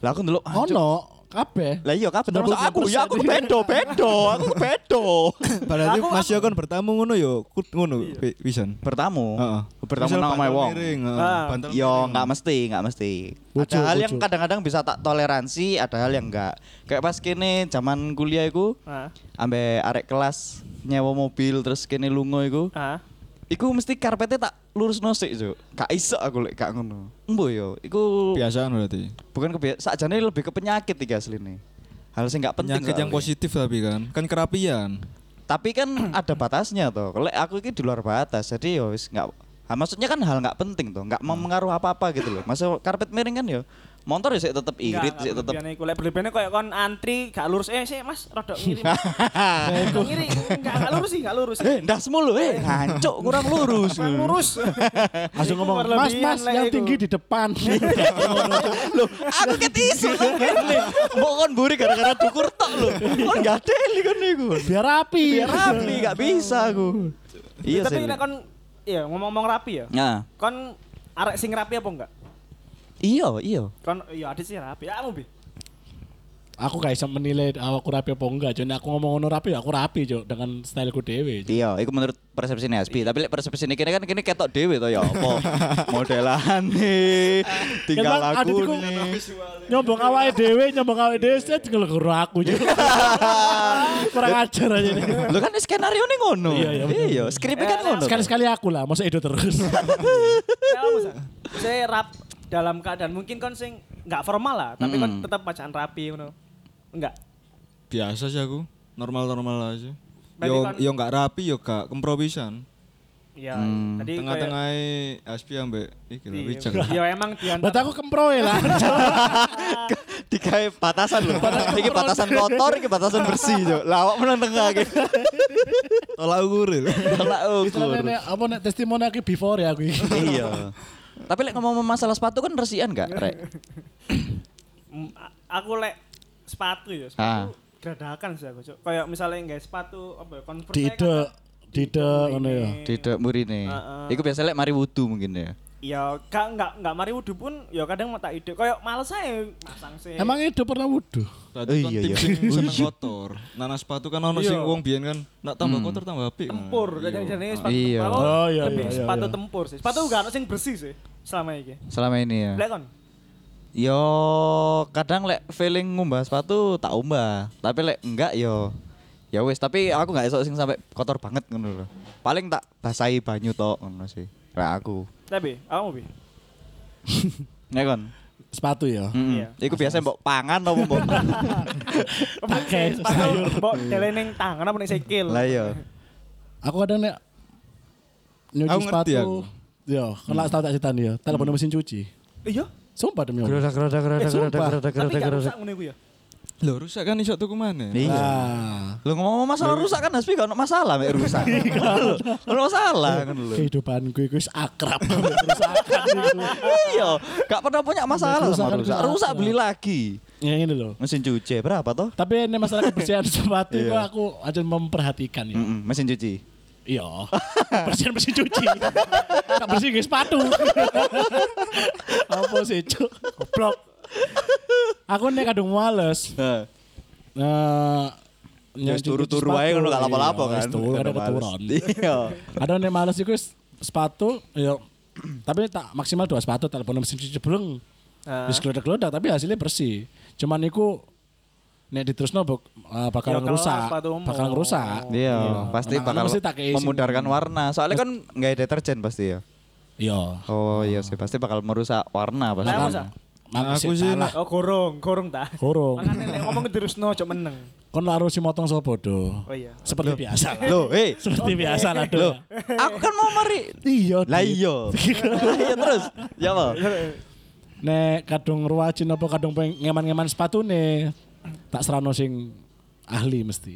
[SPEAKER 1] Lah aku ndelok ah, cok.
[SPEAKER 3] Ono kabeh.
[SPEAKER 1] Lah iya kabeh termasuk aku.
[SPEAKER 3] 90%.
[SPEAKER 1] Ya aku bedo, bedo, aku bedo.
[SPEAKER 4] Berarti Mas yo kon bertamu ngono yo, kut ngono
[SPEAKER 2] Iya.
[SPEAKER 4] pi- pisan.
[SPEAKER 1] Bertamu.
[SPEAKER 4] Heeh.
[SPEAKER 1] Bertamu
[SPEAKER 4] Misal
[SPEAKER 1] nang omahe
[SPEAKER 4] bantal
[SPEAKER 1] wong.
[SPEAKER 4] miring, heeh.
[SPEAKER 2] Ah.
[SPEAKER 4] Bantal
[SPEAKER 1] Yo
[SPEAKER 4] miring.
[SPEAKER 1] nggak mesti, nggak mesti.
[SPEAKER 3] Bojo,
[SPEAKER 1] ada hal yang
[SPEAKER 3] bojo.
[SPEAKER 1] kadang-kadang bisa tak toleransi, ada hal yang enggak. Kayak pas kene zaman kuliah iku,
[SPEAKER 2] Hah?
[SPEAKER 1] ambe arek kelas nyewa mobil terus kene lunga iku.
[SPEAKER 2] Hah?
[SPEAKER 1] Iku mesti karpetnya tak lurus nosik Cuk. Gak iso aku lek gak ngono. Embo yo, iku
[SPEAKER 4] Kebiasaan kan berarti.
[SPEAKER 1] bukan kebiasa, sakjane lebih ke penyakit iki asline. Hal sing gak penting.
[SPEAKER 4] Penyakit yang
[SPEAKER 1] soalnya.
[SPEAKER 4] positif tapi kan. Kan kerapian.
[SPEAKER 1] Tapi kan ada batasnya toh. Lek aku iki di luar batas, jadi yo wis gak Ha, maksudnya kan hal nggak penting toh, nggak
[SPEAKER 2] Hmm.
[SPEAKER 1] mempengaruhi apa-apa gitu loh. Masa karpet miring kan yo, motor ya sik tetep irit, sik tetep
[SPEAKER 2] Berlebihan iku lek berlebihannya kayak kon antri gak lurus eh sih Mas rodok ngiri. Rodok ngiri enggak enggak lurus sih, enggak lurus.
[SPEAKER 1] Eh, ndasmu lho, eh, ngancuk kurang lurus.
[SPEAKER 2] Kurang lurus.
[SPEAKER 3] Langsung
[SPEAKER 2] Iku
[SPEAKER 3] ngomong, mas
[SPEAKER 2] berlebihan
[SPEAKER 3] mas
[SPEAKER 2] lek
[SPEAKER 3] yang
[SPEAKER 2] iku."
[SPEAKER 3] tinggi di depan.
[SPEAKER 1] Iya. Loh, aku ket isu kan kene. Mbok kon mburi gara-gara dukur tok lho. Kon gak deli kon niku.
[SPEAKER 3] Biar rapi.
[SPEAKER 1] kan Biar rapi gak bisa aku. Iya
[SPEAKER 2] Tapi
[SPEAKER 1] sih.
[SPEAKER 2] nek kon iya ngomong-ngomong rapi ya.
[SPEAKER 1] Nah,
[SPEAKER 2] Kon arek sing rapi apa enggak?
[SPEAKER 1] iya, iya.
[SPEAKER 2] Kon iya adit sih rapi. Ya kamu bi.
[SPEAKER 3] Aku gak bisa menilai "Oh, aku rapi apa enggak. Jadi aku ngomong ngono rapi, ya aku rapi cok dengan styleku dewe. Cuk.
[SPEAKER 1] Iya, itu menurut persepsi Hasbi. Tapi lek persepsi ini kan kini ketok dewe to ya apa modelan nih, tinggal
[SPEAKER 3] Emang
[SPEAKER 1] laku
[SPEAKER 3] aditku-
[SPEAKER 1] nih.
[SPEAKER 3] Kan Nyombong awake dewe, nyombong awake dewe, saya tinggal guru aku Cuk. Kurang ajar aja nih.
[SPEAKER 1] Lo kan skenario nih ngono.
[SPEAKER 3] Iya, iya, bener.
[SPEAKER 1] Iya, skripnya kan ngono.
[SPEAKER 3] Sekali-sekali aku lah, masa edo terus.
[SPEAKER 2] Ya, apa, Sa? saya rap dalam keadaan mungkin kon sing nggak formal lah, tapi kon tetap bacaan rapi ngono. Enggak.
[SPEAKER 4] Biasa sih aku. Normal-normal aja.
[SPEAKER 2] Berarti kan-
[SPEAKER 4] Yo
[SPEAKER 2] kon-
[SPEAKER 4] yo gak rapi yo gak kempropisan.
[SPEAKER 2] Ya, tadi
[SPEAKER 4] Tengah-tengah e Aspi ambek iki lho Wijang.
[SPEAKER 2] Ya emang diantar.
[SPEAKER 3] Buat aku kemproy lah.
[SPEAKER 1] Dikai batasan lho. Iki batasan kotor, iki batasan bersih yo. Lawak menang tengah iki.
[SPEAKER 4] Tolak ukur. lho.
[SPEAKER 1] Tolak ukur.
[SPEAKER 3] Istilahnya nek, apa nek testimoni aku before ya aku. iki.
[SPEAKER 1] Iya. Tapi lek ngomong masalah sepatu kan resian gak, Rek?
[SPEAKER 2] Mm, a- aku lek sepatu ya,
[SPEAKER 1] Ah.
[SPEAKER 2] sepatu gradakan sih aku, Cuk. Kayak misalnya nggak sepatu apa ya, Converse
[SPEAKER 3] Di ide,
[SPEAKER 2] kan-
[SPEAKER 3] di ide ngono ya.
[SPEAKER 1] Tidak murine.
[SPEAKER 3] Ah,
[SPEAKER 2] Heeh.
[SPEAKER 1] Iku biasa lek mari wudu mungkin ya.
[SPEAKER 2] Ya, gak nggak nggak mari wudu pun ya kadang mau tak ide. Kayak males aja masang sih.
[SPEAKER 3] Emang edo pernah wudhu?
[SPEAKER 4] Berarti
[SPEAKER 1] Oh,
[SPEAKER 4] kan
[SPEAKER 1] iya,
[SPEAKER 4] tim
[SPEAKER 1] iya.
[SPEAKER 4] sing seneng kotor. Nanas sepatu kan ono
[SPEAKER 2] Iya.
[SPEAKER 4] sing wong biyen kan nak tambah
[SPEAKER 1] Hmm.
[SPEAKER 4] kotor tambah apik.
[SPEAKER 2] tempur, kadang jadinya sepatu.
[SPEAKER 1] Iya.
[SPEAKER 2] aku
[SPEAKER 3] Oh, iya,
[SPEAKER 2] lebih
[SPEAKER 3] iya, iya,
[SPEAKER 2] sepatu
[SPEAKER 3] iya.
[SPEAKER 2] tempur sih. Sepatu gak ada sing bersih sih selama ini.
[SPEAKER 1] Selama ini ya.
[SPEAKER 2] Lek kon.
[SPEAKER 1] Yo kadang lek feeling ngumbah sepatu tak umbah, tapi lek enggak yo ya wis, tapi aku enggak esok sing sampai kotor banget ngono lho. Paling tak basahi banyu tok ngono sih. Lah aku.
[SPEAKER 2] Tapi, kamu bi.
[SPEAKER 1] Ya kon.
[SPEAKER 3] Sepatu ya.
[SPEAKER 1] Mm-mm.
[SPEAKER 2] Iya.
[SPEAKER 1] Iku biasa mbok pangan apa mbok.
[SPEAKER 3] Pakai sayur. iya.
[SPEAKER 2] Sepatu mbok teleneng tangan apa ning sikil.
[SPEAKER 1] Lah iya. yo.
[SPEAKER 3] Aku kadang nek nyuci
[SPEAKER 4] Aku ngerti
[SPEAKER 3] sepatu.
[SPEAKER 4] aku.
[SPEAKER 3] Hmm. Yo, kalau tak tahu tak ceritani ya. Telepon mesin cuci.
[SPEAKER 2] Iya.
[SPEAKER 3] Sumpah demi Allah.
[SPEAKER 5] Gerodak, gerodak, gerodak, gerodak, gerodak,
[SPEAKER 2] Tapi
[SPEAKER 5] gerodak,
[SPEAKER 2] gak
[SPEAKER 5] gerodak.
[SPEAKER 2] rusak ngono iku ya.
[SPEAKER 4] Loh rusak kan iso tuku maneh.
[SPEAKER 1] Iya.
[SPEAKER 3] Nah,
[SPEAKER 1] Lo ngomong masalah rusak kan Hasbi gak ono masalah mek rusak.
[SPEAKER 3] Iya.
[SPEAKER 1] Ono masalah kan lo.
[SPEAKER 3] kehidupan gue gue akrab. Kerusakan gitu.
[SPEAKER 1] Iya, gak pernah punya masalah
[SPEAKER 3] Rusak
[SPEAKER 1] sama
[SPEAKER 3] kan
[SPEAKER 1] rusak.
[SPEAKER 3] rusak.
[SPEAKER 1] Rusak beli lagi.
[SPEAKER 3] Yang ini loh.
[SPEAKER 1] Mesin cuci berapa toh?
[SPEAKER 3] Ya, Tapi ini masalah kebersihan sepatu kok aku aja memperhatikan ya.
[SPEAKER 1] Mm-mm, mesin cuci.
[SPEAKER 3] Iya. Bersihin bersih cuci. Tak bersih guys sepatu. Apa sih cuk? Goblok. Aku nih kadung males.
[SPEAKER 1] Heeh.
[SPEAKER 3] Nah,
[SPEAKER 1] Ya
[SPEAKER 3] nyuci-
[SPEAKER 1] turu-turu aja
[SPEAKER 3] nyuci sepatu.
[SPEAKER 1] kalau gak lapo-lapo
[SPEAKER 3] Iya,
[SPEAKER 1] kan.
[SPEAKER 3] wis Turu
[SPEAKER 1] Gak
[SPEAKER 3] kadang
[SPEAKER 1] ada
[SPEAKER 3] keturun.
[SPEAKER 1] males. Iya.
[SPEAKER 3] Ada nih males iku wis sepatu ya tapi tak maksimal dua sepatu telepon mesin cuci belum.
[SPEAKER 2] Ah.
[SPEAKER 3] Wis gelodak-gelodak tapi hasilnya bersih. Cuman iku nek diterusno bak- eh, bakal
[SPEAKER 2] Ya, kelas
[SPEAKER 3] rusak,
[SPEAKER 2] sepatumu.
[SPEAKER 3] bakal rusak.
[SPEAKER 1] Iya, pasti
[SPEAKER 3] Anak-anak
[SPEAKER 1] bakal
[SPEAKER 3] mesti tak kei sing-
[SPEAKER 1] memudarkan warna. Soalnya kan nggak ada deterjen pasti ya.
[SPEAKER 3] Iya.
[SPEAKER 1] Oh iya sih, pasti bakal merusak warna pasti.
[SPEAKER 2] Lah masa?
[SPEAKER 3] Nah,
[SPEAKER 4] Aku sih
[SPEAKER 3] salah.
[SPEAKER 2] Oh gorong, gorong ta.
[SPEAKER 3] Gorong.
[SPEAKER 2] Makane nek ngomong terusno cok meneng.
[SPEAKER 3] Kon laru si motong sopo do.
[SPEAKER 2] Oh iya.
[SPEAKER 3] Seperti biasa lah.
[SPEAKER 1] Loh, eh,
[SPEAKER 3] Seperti biasa lah do.
[SPEAKER 1] aku kan mau mari.
[SPEAKER 3] Iya.
[SPEAKER 1] Lah
[SPEAKER 3] Dit.
[SPEAKER 1] iya. Lah iya terus. Ya apa?
[SPEAKER 3] Nek kadung ruwajin apa kadung peng ngeman-ngeman sepatu nih. Tak serano sing ahli mesti.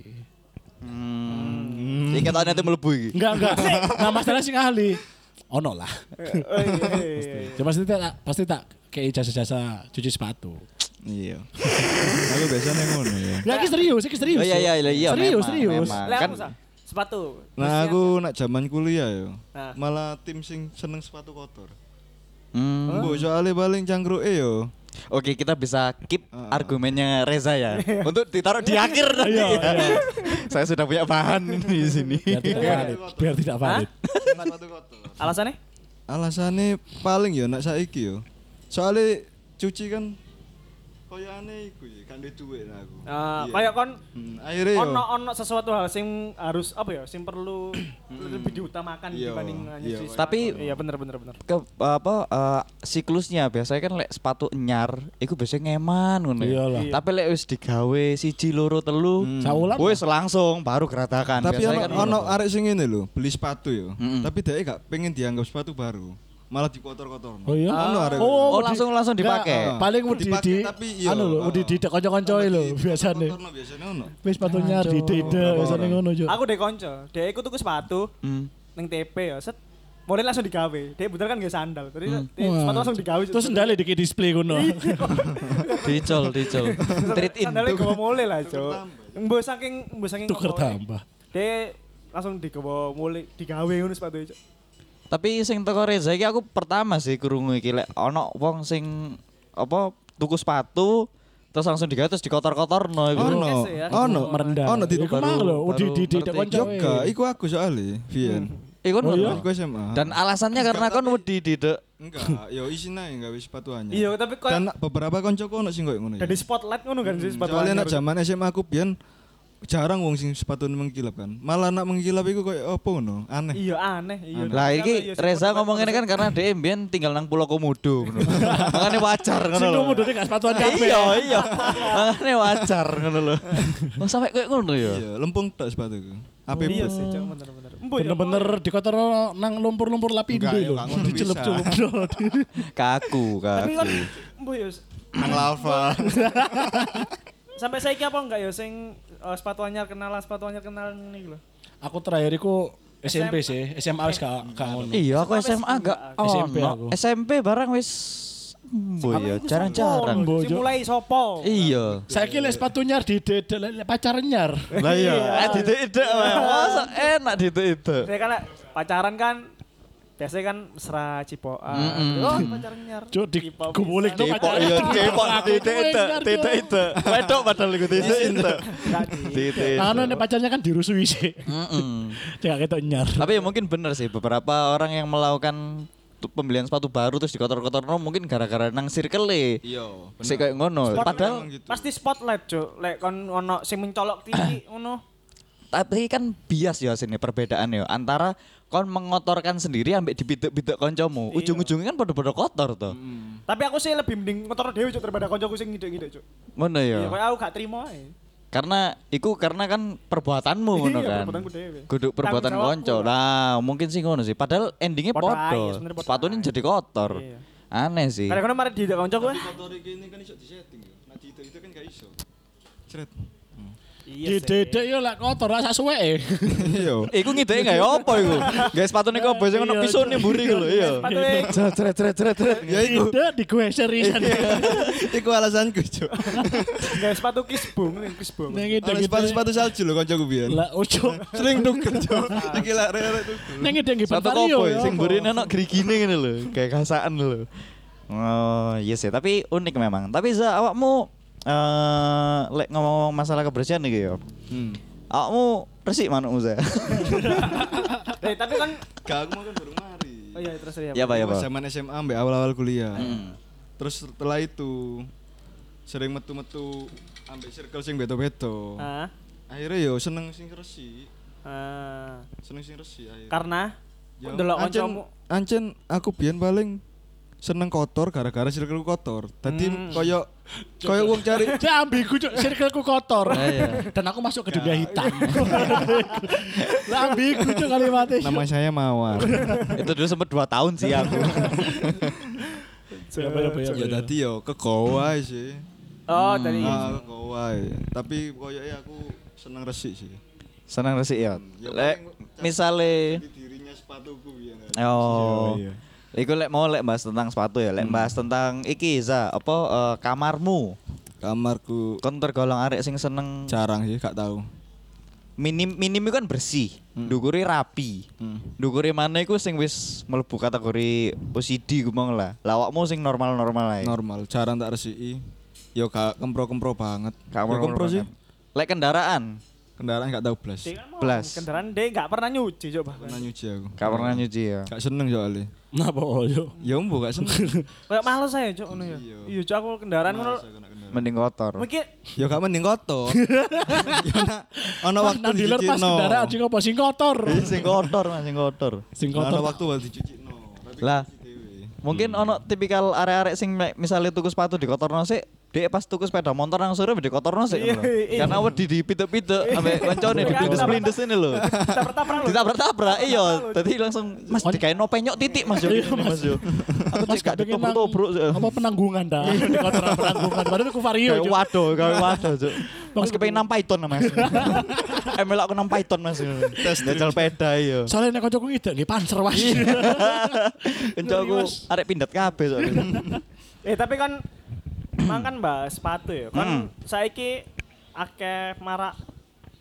[SPEAKER 1] Hmm. Ikatannya tuh melebu iki.
[SPEAKER 3] Enggak enggak. nah masalah sing ahli. Ono lah.
[SPEAKER 2] Oh iya,
[SPEAKER 1] Eh.
[SPEAKER 2] iya, iya.
[SPEAKER 3] Ya pasti tak pasti tak kayak jasa-jasa cuci sepatu.
[SPEAKER 4] Iya. Aku biasanya ngono ya.
[SPEAKER 3] Ya iki serius, iki
[SPEAKER 1] Oh
[SPEAKER 3] serius.
[SPEAKER 1] iya iya iya, iya.
[SPEAKER 3] Serius,
[SPEAKER 1] memang,
[SPEAKER 3] serius.
[SPEAKER 1] memang.
[SPEAKER 2] Lah
[SPEAKER 1] Kan
[SPEAKER 2] aku sa- sepatu.
[SPEAKER 4] Nah aku nak zaman kuliah yo.
[SPEAKER 2] Nah.
[SPEAKER 4] Malah tim sing seneng sepatu kotor.
[SPEAKER 1] Hmm.
[SPEAKER 4] Mbok soalnya paling cangkruke yo.
[SPEAKER 1] Oke, kita bisa keep
[SPEAKER 3] Hmm.
[SPEAKER 4] Heeh.
[SPEAKER 1] argumennya Reza ya. Untuk ditaruh di akhir nanti.
[SPEAKER 3] Iya,
[SPEAKER 1] ya. Saya sudah punya bahan ini di sini.
[SPEAKER 3] Biar tidak valid. Biar tidak valid.
[SPEAKER 4] Seneng sepatu kotor.
[SPEAKER 2] Alasannya?
[SPEAKER 4] Alasannya paling yo nak saiki yo. Soalnya cuci kan koyane iku ya, kan duwe duit lah aku.
[SPEAKER 2] Eh,
[SPEAKER 4] Iya.
[SPEAKER 2] kayak kon
[SPEAKER 4] Hmm, akhirnya
[SPEAKER 3] Iya.
[SPEAKER 4] yo.
[SPEAKER 2] ono ono sesuatu hal sing harus apa ya sing perlu lebih diutamakan
[SPEAKER 4] Iya,
[SPEAKER 2] dibanding
[SPEAKER 4] iya.
[SPEAKER 2] nyuci sepatu.
[SPEAKER 1] Tapi-
[SPEAKER 2] iya bener bener bener
[SPEAKER 1] Ke apa eh, siklusnya biasanya kan lek sepatu enyar iku biasanya ngeman ngono. ya.
[SPEAKER 3] Iyalah.
[SPEAKER 1] Tapi lek wis digawe siji loro telu,
[SPEAKER 3] Saulam.
[SPEAKER 1] wis langsung baru geratakan.
[SPEAKER 4] Tapi
[SPEAKER 1] Biasanya
[SPEAKER 4] ono
[SPEAKER 1] kan
[SPEAKER 4] ono arek sing ngene lho, beli sepatu yo.
[SPEAKER 1] Mm-mm.
[SPEAKER 4] Tapi dia gak pengen dianggap sepatu baru. Malah dikotor-kotor.
[SPEAKER 3] Oh iya.
[SPEAKER 4] Ono arek.
[SPEAKER 1] Oh,
[SPEAKER 3] wedi-
[SPEAKER 1] langsung- langsung
[SPEAKER 3] Enggak,
[SPEAKER 1] dipakai.
[SPEAKER 4] ah,
[SPEAKER 3] eh, Paling wedi
[SPEAKER 4] Dipakai
[SPEAKER 3] di
[SPEAKER 4] tapi iya,
[SPEAKER 3] anu lho,
[SPEAKER 4] oh.
[SPEAKER 3] wedi di kanca-kancane lho biasane.
[SPEAKER 4] Kotor-kotorno biasanya ono.
[SPEAKER 3] Wis sepatunya di dede biasane ngono yo.
[SPEAKER 2] aku dek konco dek aku tuku sepatu
[SPEAKER 1] Hmm.
[SPEAKER 2] neng TP ya set mulai langsung digawe dek bener kan gak sandal tadi
[SPEAKER 1] Hmm.
[SPEAKER 2] dek
[SPEAKER 3] Wah.
[SPEAKER 2] sepatu langsung digawe
[SPEAKER 3] Terus sendale di display ngono.
[SPEAKER 1] dicol dicol. Treat in.
[SPEAKER 2] sandalnya gue mulai lah cok mbak saking mbak saking
[SPEAKER 3] Tuker
[SPEAKER 2] ngomongnya.
[SPEAKER 3] tambah.
[SPEAKER 2] dek langsung digawe mulai digawe ngono sepatu cok
[SPEAKER 1] Tapi sing teko Reza iki aku pertama sih krungu iki lek ono wong sing apa tuku sepatu terus langsung digawe terus dikotor-kotorno iku.
[SPEAKER 4] Ono.
[SPEAKER 2] Kese ya.
[SPEAKER 4] Ono.
[SPEAKER 3] merendah. Iya,
[SPEAKER 4] Ono di
[SPEAKER 3] Iku mang lho,
[SPEAKER 1] baru-
[SPEAKER 3] di di di Iya.
[SPEAKER 1] baru
[SPEAKER 3] kanca.
[SPEAKER 1] ngerti.
[SPEAKER 4] Yoga, iku aku soalnya, Vian.
[SPEAKER 1] Iku
[SPEAKER 3] Oh iya?
[SPEAKER 1] ngono.
[SPEAKER 4] Aku SMA.
[SPEAKER 1] Dan alasannya karena kon wedi didek.
[SPEAKER 4] enggak, yo isinya enggak wis sepatuannya.
[SPEAKER 2] iya tapi kok
[SPEAKER 4] Dan beberapa koncoku ono sing koyo ngono. ya.
[SPEAKER 2] dari spotlight ngono kan
[SPEAKER 1] Hmm.
[SPEAKER 2] sih sepatu
[SPEAKER 4] Soalnya
[SPEAKER 2] anyar.
[SPEAKER 4] nak zaman SMA aku Bian jarang wong sing sepatu mengkilap kan. Malah nak mengkilap iku koyo apa ngono, aneh.
[SPEAKER 2] iya aneh iya
[SPEAKER 1] Lah
[SPEAKER 3] Ya,
[SPEAKER 1] iki Reza ngomong ini kan karena dhek mbiyen tinggal nang Pulau Komodo ngono. Makane wajar ngono
[SPEAKER 3] Sing
[SPEAKER 1] lho.
[SPEAKER 3] mudune gak sepatuan kabeh.
[SPEAKER 1] Iya, iya. Makane wajar ngono lho. Kok sampe koyo ngono ya?
[SPEAKER 4] Iya, lempung tok sepatuku.
[SPEAKER 3] Oh,
[SPEAKER 4] Ape
[SPEAKER 2] iya sih cok bener bener Mbok, ya,
[SPEAKER 3] Bener-bener dikotor nang lumpur-lumpur lapindo
[SPEAKER 4] Enggak, ya,
[SPEAKER 3] lho.
[SPEAKER 4] gak ngono
[SPEAKER 3] Dicelup-celup lho.
[SPEAKER 1] Kaku,
[SPEAKER 2] tapi kan
[SPEAKER 1] kaku.
[SPEAKER 2] mbok ya
[SPEAKER 4] nang lava.
[SPEAKER 2] Sampai saya apa enggak ya sing eh, sepatu anyar kenalan sepatu anyar kenalan ini lho.
[SPEAKER 3] Aku terakhir iku SMP sih, SMA wis gak gak ngono.
[SPEAKER 1] Iya, aku
[SPEAKER 2] Sampai
[SPEAKER 1] SMA gak
[SPEAKER 3] SMP
[SPEAKER 1] ono.
[SPEAKER 3] Oh, aku.
[SPEAKER 1] SMP barang wis Mbo ya, jarang-jarang.
[SPEAKER 3] Mbok,
[SPEAKER 2] Si
[SPEAKER 3] Cok.
[SPEAKER 2] mulai sopo.
[SPEAKER 1] Iya.
[SPEAKER 3] Saya kira sepatu nyar di dede lek- lek pacaran nyar.
[SPEAKER 4] Lah iya.
[SPEAKER 1] Eh didik-didik
[SPEAKER 3] Iya.
[SPEAKER 1] weh. masa enak didik-didik.
[SPEAKER 2] Saya kan pacaran kan biasanya kan mesra cipokan. Oh, pacaran nyar.
[SPEAKER 3] Cuk di
[SPEAKER 2] Cipokan.
[SPEAKER 3] gubulik tuh
[SPEAKER 1] Depok
[SPEAKER 3] pacaran.
[SPEAKER 1] ya, depok
[SPEAKER 3] Aku
[SPEAKER 1] didik-didik,
[SPEAKER 3] nyar, Cuk.
[SPEAKER 1] didik-didik. Wedok padahal iku didik-didik.
[SPEAKER 2] Enggak, Di.
[SPEAKER 1] Didik.
[SPEAKER 3] Iya. Nah, nek pacarnya kan dirusui sih. Jangan ketok nyar.
[SPEAKER 1] Tapi ya mungkin bener sih beberapa orang yang melakukan tu- pembelian sepatu baru terus dikotor-kotor mungkin gara-gara nang circle
[SPEAKER 4] Iya.
[SPEAKER 1] sih kayak ngono. Padahal
[SPEAKER 4] emang gitu.
[SPEAKER 2] Pasti spotlight, Cuk. Lek kon ono sing mencolok tinggi ngono.
[SPEAKER 1] tapi kan bias ya sini perbedaan ya antara kon mengotorkan sendiri ambek dibidik-bidik koncomu.
[SPEAKER 2] Iya.
[SPEAKER 1] Ujung-ujungnya kan pada-pada kotor tuh.
[SPEAKER 2] Tapi aku sih lebih mending motor dhewe Cuk daripada koncoku sing ngidek-ngidek, Cuk.
[SPEAKER 1] Ngono ya.
[SPEAKER 2] Iya, kayak aku gak trimo ae.
[SPEAKER 1] Karena iku karena kan perbuatanmu ngono
[SPEAKER 2] Iya,
[SPEAKER 1] kan.
[SPEAKER 2] perbuatanku dhewe.
[SPEAKER 1] Guduk perbuatan
[SPEAKER 2] Tanggung jawabku.
[SPEAKER 1] konco. Nah, mungkin sih ngono sih. Padahal endingnya
[SPEAKER 2] Podo ae,
[SPEAKER 1] podo.
[SPEAKER 2] sebenernya podo
[SPEAKER 1] Sepatunya
[SPEAKER 2] ae.
[SPEAKER 1] jadi kotor.
[SPEAKER 2] Iya.
[SPEAKER 1] Aneh sih.
[SPEAKER 2] Karena kemarin di "Ah, kanca gue.
[SPEAKER 4] Motor iki ini kan iso disetting yo. Nah di itu kan gak iso. Cret.
[SPEAKER 2] iya
[SPEAKER 3] Di dedek yo lek kotor rasa suwe e.
[SPEAKER 4] Yo.
[SPEAKER 1] Iku ngideke gak ya apa iku? Guys, sepatune kok bos sing ono
[SPEAKER 3] Iya,
[SPEAKER 1] pisone mburi iku lho, iya.
[SPEAKER 2] Sepatune.
[SPEAKER 1] Cret cret cret cret. cret.
[SPEAKER 4] Ya iku.
[SPEAKER 3] Dedek digeser isan.
[SPEAKER 4] Iku alasanku, Cuk.
[SPEAKER 2] Enggak sepatu kisbung, kisbung.
[SPEAKER 3] Ning
[SPEAKER 4] Ada sepatu-sepatu salju lho kancaku biyen.
[SPEAKER 3] gitu. Lah ojo.
[SPEAKER 4] Sering tuker, Cuk. Iki lak rek tuker.
[SPEAKER 3] Ning ndek nggih
[SPEAKER 1] Satu
[SPEAKER 3] Bavario,
[SPEAKER 1] kopo
[SPEAKER 3] ya
[SPEAKER 1] sing
[SPEAKER 3] apa?
[SPEAKER 1] burine ono gerigine ngene lho, kayak kasaan lho. Oh, iya sih, tapi unik memang. Tapi za awakmu eh lek ngomong-ngomong masalah kebersihan iki ya.
[SPEAKER 4] Hmm.
[SPEAKER 1] Awakmu resik manukmu za.
[SPEAKER 2] Eh, tapi kan
[SPEAKER 4] Gak aku mau kan baru mari.
[SPEAKER 2] Oh iya terus ya.
[SPEAKER 1] Ya, Pak, ya,
[SPEAKER 4] Pas
[SPEAKER 1] Pak.
[SPEAKER 4] Zaman SMA ambek awal-awal kuliah.
[SPEAKER 1] Hmm.
[SPEAKER 4] Terus setelah itu sering metu-metu ambek circle sing beto-beto.
[SPEAKER 2] Ah,
[SPEAKER 4] Akhirnya yo seneng sing resik.
[SPEAKER 2] ah.
[SPEAKER 4] Seneng sing resik akhirnya.
[SPEAKER 2] Karena
[SPEAKER 4] Ya,
[SPEAKER 2] delok
[SPEAKER 4] ancen-
[SPEAKER 2] kancamu.
[SPEAKER 4] Ancen aku biyen paling seneng kotor gara-gara circle kotor. Tadi
[SPEAKER 2] Hmm.
[SPEAKER 4] koyo koyo wong cari
[SPEAKER 3] Dia ambigu cuk, circleku kotor.
[SPEAKER 1] Iya.
[SPEAKER 3] Dan aku masuk ke dunia hitam. Lah ambigu cuk kalimatnya.
[SPEAKER 4] nama saya Mawar.
[SPEAKER 1] Itu dulu sempet 2 tahun sih aku.
[SPEAKER 3] Ya, apa, ya, apa, ya, apa,
[SPEAKER 4] ya
[SPEAKER 3] ya.
[SPEAKER 4] tadi yo kekowa sih.
[SPEAKER 2] Oh, tadi
[SPEAKER 4] Ah, kekowa. ya. Tapi koyoke aku seneng resik sih.
[SPEAKER 1] Senang resik ya.
[SPEAKER 4] Ya,
[SPEAKER 1] Lek
[SPEAKER 4] paling-
[SPEAKER 1] misale
[SPEAKER 4] Jadi dirinya sepatuku biyen.
[SPEAKER 1] Oh.
[SPEAKER 3] Iya, iya.
[SPEAKER 1] Iku lek mau lek bahas tentang sepatu ya, lek bahas tentang iki za apa eh, kamarmu.
[SPEAKER 4] Kamarku
[SPEAKER 1] Kon tergolong arek sing seneng
[SPEAKER 4] jarang sih, gak tahu.
[SPEAKER 1] minim minim iku kan bersih, dukure rapi.
[SPEAKER 4] Hmm.
[SPEAKER 1] Dukure mana iku sing wis mlebu kategori OCD gumong lah. Lawakmu sing normal-normal ae.
[SPEAKER 4] Normal, jarang tak resiki. Yo gak kempro-kempro banget.
[SPEAKER 1] Kamar
[SPEAKER 4] Yo kempro sih.
[SPEAKER 1] Lek kendaraan,
[SPEAKER 4] Kendaraan gak tahu blas.
[SPEAKER 2] dia kan mau
[SPEAKER 1] Blas.
[SPEAKER 2] kendaraan dia nggak pernah nyuci coba.
[SPEAKER 4] Pernah nyuci aku.
[SPEAKER 1] gak pernah nyuci ya.
[SPEAKER 4] Hmm. Gak seneng soalnya.
[SPEAKER 1] Nah,
[SPEAKER 3] Napa
[SPEAKER 1] oh,
[SPEAKER 3] yo?
[SPEAKER 4] Ya mbo gak seneng.
[SPEAKER 2] Kayak males saya cok ngono ya.
[SPEAKER 4] Iya.
[SPEAKER 2] Iya cok aku kendaraan ngono.
[SPEAKER 1] Mending kotor.
[SPEAKER 2] Mungkin
[SPEAKER 4] Ya gak mending kotor. Ya nak ana
[SPEAKER 3] Wah,
[SPEAKER 4] waktu
[SPEAKER 3] nang dealer pas
[SPEAKER 4] dicucino.
[SPEAKER 3] kendaraan sing apa sing kotor.
[SPEAKER 1] Ih, sing kotor, Mas, sing kotor.
[SPEAKER 3] Sing
[SPEAKER 4] Ana
[SPEAKER 3] kotor.
[SPEAKER 4] Nah, waktu wal dicucino. Tapi
[SPEAKER 1] Lah.
[SPEAKER 4] dicuci dhewe.
[SPEAKER 1] Mungkin ono tipikal arek-arek sing me- misalnya tuku sepatu di kotorno sik, dhek pas tuku sepeda motor nang sore di kotorno sik.
[SPEAKER 2] Iya,
[SPEAKER 1] ngono.
[SPEAKER 2] iya.
[SPEAKER 1] Karena wedi dipitek-pitek ambek kancane
[SPEAKER 2] Iya,
[SPEAKER 1] dipindes-pindes ini lho.
[SPEAKER 2] tabrak-tabrak lho.
[SPEAKER 1] Ditabrak-tabrak iya. Tadi langsung Mas dikai no penyok titik Mas yo. gini, Mas yo. Aku
[SPEAKER 3] Mas
[SPEAKER 1] cek gak
[SPEAKER 3] pengen nang-
[SPEAKER 1] ditobrok-tobrok.
[SPEAKER 3] Apa penanggungan dah? Di kotor penanggungan. Padahal aku vario.
[SPEAKER 1] Kayak
[SPEAKER 3] Cuk.
[SPEAKER 1] waduh, kayak waduh, Cuk. Iya, Mas kepengin nang Python Mas. Emel aku nang Python Mas. Tes jajal peda iya. yo.
[SPEAKER 3] Soalnya nek kancaku ngidek nggih panser wah.
[SPEAKER 1] Iya. Encok aku arek pindhat kabeh soalnya.
[SPEAKER 2] eh tapi kan emang kan mbak sepatu ya.
[SPEAKER 1] Hmm.
[SPEAKER 2] Kan saiki akeh marak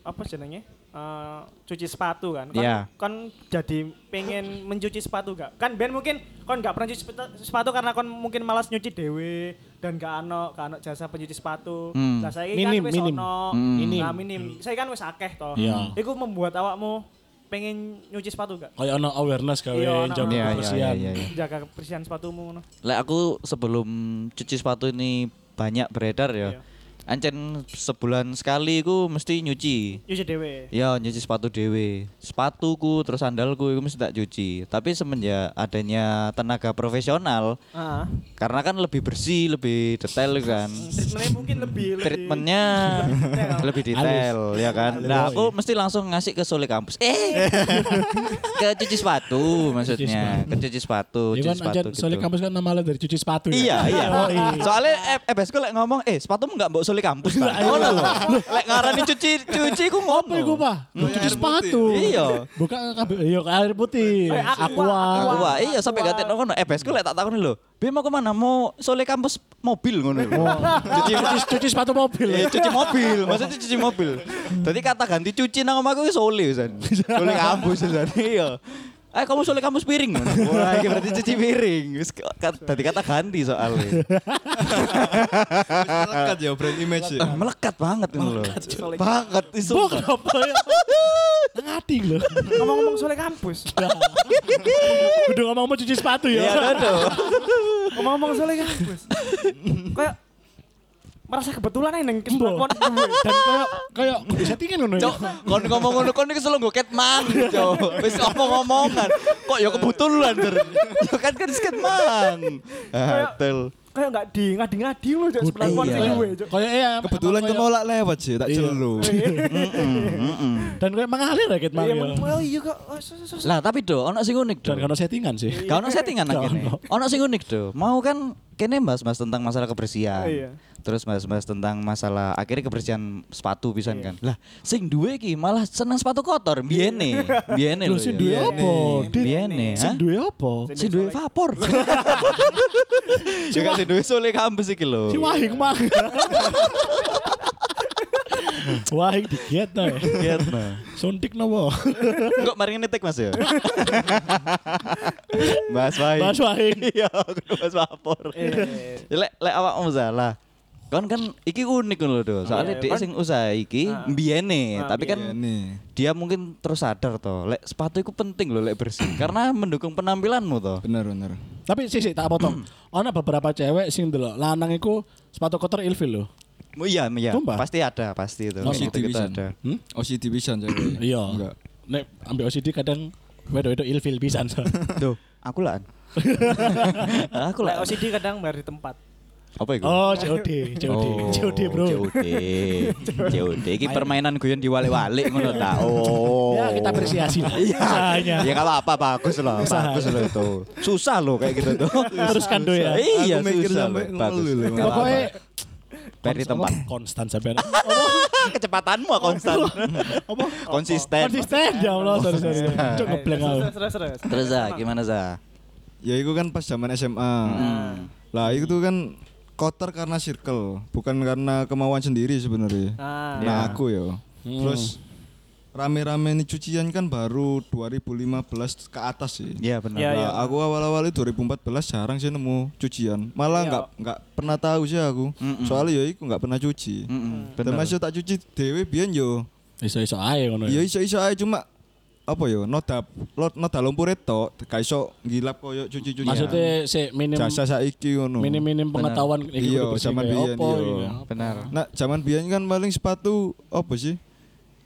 [SPEAKER 2] apa jenenge? Eh, cuci sepatu kan kan,
[SPEAKER 1] Iya.
[SPEAKER 2] kan jadi pengen mencuci sepatu gak kan Ben mungkin kon gak pernah cuci sepatu- sepatu karena kon mungkin malas nyuci dewe dan gak ano gak ano jasa pencuci sepatu
[SPEAKER 1] Hmm.
[SPEAKER 2] nah saya
[SPEAKER 3] Minim,
[SPEAKER 2] kan wis
[SPEAKER 3] minim.
[SPEAKER 2] ono
[SPEAKER 1] Hmm.
[SPEAKER 3] Minim.
[SPEAKER 2] nah, minim saya kan wis akeh toh
[SPEAKER 3] Iya.
[SPEAKER 2] Iku membuat awakmu pengen nyuci sepatu gak
[SPEAKER 3] Kayak ono awareness
[SPEAKER 2] Iya,
[SPEAKER 3] gawe
[SPEAKER 2] ono
[SPEAKER 3] jam
[SPEAKER 2] awareness.
[SPEAKER 1] Iya, iya,
[SPEAKER 3] kebersihan.
[SPEAKER 1] iya, iya.
[SPEAKER 2] jaga kebersihan sepatumu ngono.
[SPEAKER 1] Lek aku sebelum cuci sepatu ini banyak beredar
[SPEAKER 2] Iya.
[SPEAKER 1] ya. Ancen sebulan sekali ku mesti nyuci.
[SPEAKER 2] Nyuci dhewe.
[SPEAKER 1] Ya nyuci sepatu dewe. Sepatuku terus sandalku itu mesti tak cuci. Tapi semenjak adanya tenaga profesional
[SPEAKER 3] Ah.
[SPEAKER 2] Heeh.
[SPEAKER 1] karena kan lebih bersih, lebih detail kan.
[SPEAKER 2] Treatmentnya mungkin lebih lebih-
[SPEAKER 1] Treatmentnya lebih detail ya kan. Nah, aku mesti langsung ngasih ke Sule kampus. Eh. ke cuci sepatu maksudnya. Ke cuci sepatu, cuci
[SPEAKER 3] Iya kan anjir,
[SPEAKER 1] sepatu.
[SPEAKER 3] soalnya
[SPEAKER 1] gitu.
[SPEAKER 3] kampus kan nama dari cuci sepatu
[SPEAKER 1] Iya,
[SPEAKER 3] ya.
[SPEAKER 1] iya.
[SPEAKER 3] Oh, iya.
[SPEAKER 1] Soalnya eh, EBS gue lek ngomong, eh sepatumu enggak mbok suli kampus ta. Ngono lho. Lek ngarani cuci cuci ku
[SPEAKER 3] Apa iku,
[SPEAKER 1] ngono.
[SPEAKER 3] Pak? Cuci sepatu.
[SPEAKER 1] Iya.
[SPEAKER 3] Buka kabel, iya air putih.
[SPEAKER 2] Eh, aqua,
[SPEAKER 1] Aku
[SPEAKER 3] Aqua.
[SPEAKER 1] wah, iya sampe gak tekno ngono. EBS gue lek tak takoni lho. Bi mau kemana? Mau suli kampus mobil ngono lho.
[SPEAKER 3] Cuci, cuci- cuci sepatu mobil.
[SPEAKER 1] Eh, cuci mobil, maksudnya cuci mobil. Tadi kata ganti cuci nang omahku wis sole wisan. Sole kampus wisan. Iya. Eh kamu sole kampus piring. ngono. Wah, iki berarti cuci piring. Wis tadi kata ganti soalnya.
[SPEAKER 4] Melekat ya brand image ya.
[SPEAKER 1] Eh, Melekat banget ngono lho. Banget iso.
[SPEAKER 3] Buk, apa ya? Ngati lho.
[SPEAKER 2] Ngomong-ngomong soal kampus.
[SPEAKER 3] Udah ngomong mau cuci sepatu
[SPEAKER 1] Iya,
[SPEAKER 3] ya.
[SPEAKER 1] aduh.
[SPEAKER 2] Ngomong-ngomong soal kampus. Kayak merasa kebetulan aja neng
[SPEAKER 3] Mbok.
[SPEAKER 2] kesempatan
[SPEAKER 3] Dan kayak kayak settingan ngono ya.
[SPEAKER 1] Cok, kon ngomong ngono kon iki selalu nggo ketman, cok. Wis omong-omongan. Kok ya kebetulan, Dur. Ya kan kan ketman.
[SPEAKER 2] Kayak-
[SPEAKER 1] Hotel.
[SPEAKER 2] kayak nggak di ngadi ngadi loh jadi sebelah
[SPEAKER 1] Iya.
[SPEAKER 2] luar gue
[SPEAKER 3] Kayak iya. emang
[SPEAKER 4] Kebetulan
[SPEAKER 3] kayak-
[SPEAKER 4] kamu lak lewat sih, tak
[SPEAKER 3] Iya.
[SPEAKER 4] celu.
[SPEAKER 3] Dan kayak mengalir ya Kit
[SPEAKER 2] iya
[SPEAKER 3] Mario.
[SPEAKER 2] men- oh iya kok oh, sus- sus- sus.
[SPEAKER 1] Lah tapi do, ono sing unik do.
[SPEAKER 3] Dan karena settingan sih.
[SPEAKER 1] Gak ono settingan nang
[SPEAKER 3] Gak
[SPEAKER 1] kene.
[SPEAKER 3] ono.
[SPEAKER 1] Ono sing unik do. Mau kan kene bahas-bahas tentang masalah
[SPEAKER 3] Oh,
[SPEAKER 1] kebersihan.
[SPEAKER 2] Iya.
[SPEAKER 1] Terus bahas-bahas tentang masalah akhirnya kebersihan sepatu pisan
[SPEAKER 3] Iya.
[SPEAKER 1] kan. Lah sing duwe iki malah seneng sepatu kotor biene. Biene e lho. ya.
[SPEAKER 3] Lu sing duwe apa?
[SPEAKER 1] iya,
[SPEAKER 3] Dit?
[SPEAKER 1] Biene.
[SPEAKER 3] Sing duwe apa?
[SPEAKER 1] Sing duwe vapor. Juga sing duwe sole kampus iki lho.
[SPEAKER 3] Si Wahing mah. Wahing digiat no.
[SPEAKER 1] Kaget, nah.
[SPEAKER 3] Suntik no wo.
[SPEAKER 1] Kok mari ngetik Mas ya? Mas Wahid.
[SPEAKER 3] Mas Wahing.
[SPEAKER 1] Iya, kudu Mas Vapor.
[SPEAKER 2] Eh,
[SPEAKER 1] Lek lek awakmu salah. Kon kan iki unik ngono lho, Do. Soale
[SPEAKER 2] iya,
[SPEAKER 1] dhek
[SPEAKER 2] kan-
[SPEAKER 1] sing usaha iki
[SPEAKER 2] Ah.
[SPEAKER 1] mbiyene,
[SPEAKER 2] Ah,
[SPEAKER 1] tapi kan
[SPEAKER 4] Iya nih.
[SPEAKER 1] dia mungkin terus sadar toh, lek sepatu itu penting loh lek bersih karena mendukung penampilanmu toh.
[SPEAKER 4] Bener bener.
[SPEAKER 3] Tapi sih sih tak potong. Ono beberapa cewek sing delok lanang iku sepatu kotor ilfil loh.
[SPEAKER 1] Oh, Iya, iya.
[SPEAKER 3] Sumpah?
[SPEAKER 1] Pasti ada, pasti itu.
[SPEAKER 3] Masih
[SPEAKER 1] Itu kita ada.
[SPEAKER 3] Hmm?
[SPEAKER 4] OCD bisa cewek.
[SPEAKER 3] Iya.
[SPEAKER 4] Enggak.
[SPEAKER 3] Nek ambil OCD kadang wedok-wedok ilfil pisan. so.
[SPEAKER 1] Duh, aku lah. Ah, aku
[SPEAKER 2] Lah,
[SPEAKER 1] lah.
[SPEAKER 2] OCD kadang bayar di tempat
[SPEAKER 1] Apa itu?
[SPEAKER 3] Oh, COD, COD,
[SPEAKER 1] Oh,
[SPEAKER 3] COD bro.
[SPEAKER 1] COD. COD iki permainan guyon diwalik-walik ngono ta. Oh.
[SPEAKER 3] Ya, kita apresiasi lah
[SPEAKER 1] Iya.
[SPEAKER 3] usahanya.
[SPEAKER 1] Ya enggak apa-apa, bagus loh,
[SPEAKER 3] Usahanya.
[SPEAKER 1] bagus loh itu. Susah loh kayak gitu tuh.
[SPEAKER 3] Teruskan do ya.
[SPEAKER 1] Iya,
[SPEAKER 4] Aku mikir
[SPEAKER 1] susah.
[SPEAKER 4] sampai
[SPEAKER 1] loh, Bagus.
[SPEAKER 4] ngeluh loh.
[SPEAKER 1] Nggak apa-apa.
[SPEAKER 3] Pokoknya
[SPEAKER 1] Dari
[SPEAKER 3] kons-
[SPEAKER 1] tempat.
[SPEAKER 3] apa? konstan sampai
[SPEAKER 1] Kecepatanmu konstan. Konsisten.
[SPEAKER 3] konsisten ya Allah sorry sorry.
[SPEAKER 2] Eh,
[SPEAKER 3] Cuk ngeblank aku.
[SPEAKER 2] Terus, terus terus
[SPEAKER 1] Terus ah, gimana Za?
[SPEAKER 4] Ya itu kan pas zaman SMA.
[SPEAKER 3] Hmm.
[SPEAKER 4] Lah itu tuh kan kotor karena circle, bukan karena kemauan sendiri sebenarnya.
[SPEAKER 2] Ah.
[SPEAKER 4] Nah, aku ya.
[SPEAKER 3] Hmm.
[SPEAKER 4] Terus rame-rame ini cucian kan baru 2015 ke atas sih.
[SPEAKER 1] Iya
[SPEAKER 3] Ya,
[SPEAKER 1] benar.
[SPEAKER 2] Iya,
[SPEAKER 4] Nah,
[SPEAKER 2] iya.
[SPEAKER 4] aku awal-awal itu 2014 jarang sih nemu cucian. Malah
[SPEAKER 2] Iya.
[SPEAKER 4] nggak nggak pernah tahu sih aku. Soalnya ya aku nggak pernah cuci.
[SPEAKER 1] Mm-mm,
[SPEAKER 4] Dan
[SPEAKER 1] benar.
[SPEAKER 4] masih tak cuci dewe biyen yo.
[SPEAKER 3] Iso-iso ae ngono
[SPEAKER 4] Ya
[SPEAKER 3] ya.
[SPEAKER 4] iso-iso aja cuma apa yo noda lo- noda lumpur itu gak iso ngilap koyo cuci-cucian.
[SPEAKER 3] Maksudnya sik minim
[SPEAKER 4] iya. jasa saiki ngono.
[SPEAKER 3] minim-minim pengetahuan
[SPEAKER 4] Iya,
[SPEAKER 3] kudu bersih
[SPEAKER 4] zaman
[SPEAKER 3] kayak
[SPEAKER 4] biyen,
[SPEAKER 3] apa,
[SPEAKER 4] iya.
[SPEAKER 3] iya.
[SPEAKER 1] Benar.
[SPEAKER 4] Nah, zaman biyen kan paling sepatu apa sih?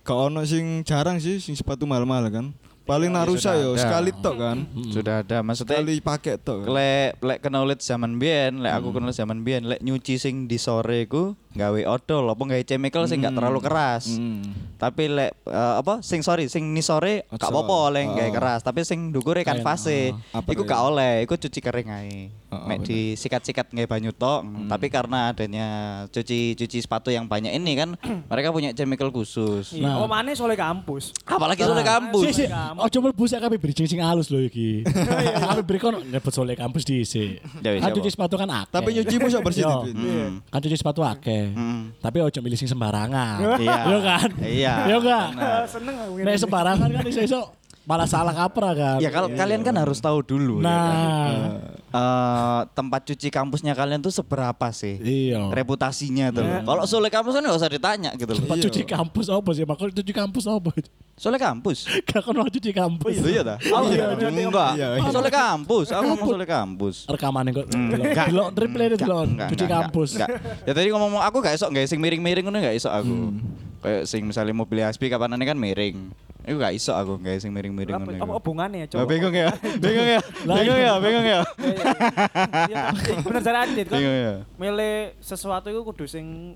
[SPEAKER 4] Gak ono sing jarang sih sing sepatu mahal-mahal kan. Paling
[SPEAKER 1] Ya, sudah
[SPEAKER 4] narusa yo
[SPEAKER 1] ada.
[SPEAKER 4] sekali tok kan.
[SPEAKER 1] Sudah ada maksudnya
[SPEAKER 4] Sekali pakai tok. kan.
[SPEAKER 1] lek lek knowledge zaman biyen lek
[SPEAKER 4] Hmm.
[SPEAKER 1] aku knowledge zaman biyen lek nyuci sing di sore ku gawe odol apa gawe chemical sing gak terlalu keras
[SPEAKER 4] Hmm.
[SPEAKER 1] tapi lek eh, apa sing sorry sing ni sore gak
[SPEAKER 4] Ojo.
[SPEAKER 1] apa-apa lek
[SPEAKER 4] Oh.
[SPEAKER 1] gawe keras tapi sing ndukure kan
[SPEAKER 3] Kain,
[SPEAKER 1] fase
[SPEAKER 4] oh. Apa
[SPEAKER 1] iku
[SPEAKER 4] tuh
[SPEAKER 1] gak
[SPEAKER 4] ya?
[SPEAKER 1] oleh iku cuci kering ae
[SPEAKER 4] Oh, oh,
[SPEAKER 1] mek
[SPEAKER 4] bener. Hmm.
[SPEAKER 1] disikat-sikat gawe banyu tok tapi karena adanya cuci-cuci sepatu yang banyak ini kan mereka punya chemical khusus
[SPEAKER 3] Nah.
[SPEAKER 2] Iya, oh mana soalnya kampus.
[SPEAKER 1] apalagi sore
[SPEAKER 3] Ah,
[SPEAKER 4] Ah.
[SPEAKER 3] Sik
[SPEAKER 1] kampus Iya,
[SPEAKER 3] sik, ojo mlebu sak kabeh bridging sing halus lho iki. Kabeh beri kon nyebut sole kampus dhisik.
[SPEAKER 1] Ya, wis,
[SPEAKER 3] Kan
[SPEAKER 1] apa?
[SPEAKER 3] cuci sepatu kan akeh.
[SPEAKER 4] Tapi nyucimu sok bersih
[SPEAKER 3] Iya.
[SPEAKER 4] Dipin.
[SPEAKER 1] Hmm.
[SPEAKER 3] Kan cuci sepatu akeh. Tapi ojo milih sing sembarangan.
[SPEAKER 1] Iya.
[SPEAKER 3] Iya kan?
[SPEAKER 1] Iya,
[SPEAKER 3] Iya enggak?
[SPEAKER 1] benar.
[SPEAKER 2] Eh, Seneng aku
[SPEAKER 3] Nek sembarangan kan iso-iso malah salah kaprah kan.
[SPEAKER 1] ya
[SPEAKER 3] Iya.
[SPEAKER 1] kalau
[SPEAKER 4] Iya,
[SPEAKER 1] kalian kan harus tahu dulu ya kan?
[SPEAKER 3] Nah,
[SPEAKER 1] eh tempat cuci kampusnya kalian tuh seberapa sih?
[SPEAKER 3] iya.
[SPEAKER 1] Reputasinya tuh. loh. Kalau soal kampus kan nggak usah ditanya gitu loh.
[SPEAKER 3] Tempat
[SPEAKER 4] Iya.
[SPEAKER 3] cuci kampus apa sih? Makanya cuci kampus apa?
[SPEAKER 1] Soal kampus.
[SPEAKER 3] Gak kan mau cuci kampus.
[SPEAKER 1] Itu ya dah. Oh, iya, enggak.
[SPEAKER 4] Iya, iya.
[SPEAKER 1] Soal kampus. Aku ngomong soal kampus.
[SPEAKER 3] Rekaman kok.
[SPEAKER 1] Hmm. Enggak.
[SPEAKER 3] Delok triple ini delok
[SPEAKER 1] Enggak,
[SPEAKER 3] cuci
[SPEAKER 1] enggak,
[SPEAKER 3] kampus.
[SPEAKER 1] enggak, enggak. Ya tadi ngomong aku gak esok gak sing miring-miring ngono gak esok aku. Kayak sing misalnya mobil Aspi kapanane kan miring. Iku gak esok aku gak sing miring-miring
[SPEAKER 2] Apa
[SPEAKER 1] ngono.
[SPEAKER 2] apa
[SPEAKER 1] iku.
[SPEAKER 2] hubungannya
[SPEAKER 1] Lah,
[SPEAKER 2] coba?
[SPEAKER 1] Bingung ya. Bingung ya.
[SPEAKER 3] Lah,
[SPEAKER 1] Bingung ya, bingung ya.
[SPEAKER 2] Iya, tapi Bener cara adit kan.
[SPEAKER 1] Bingung ya.
[SPEAKER 2] Milih sesuatu itu kudu sing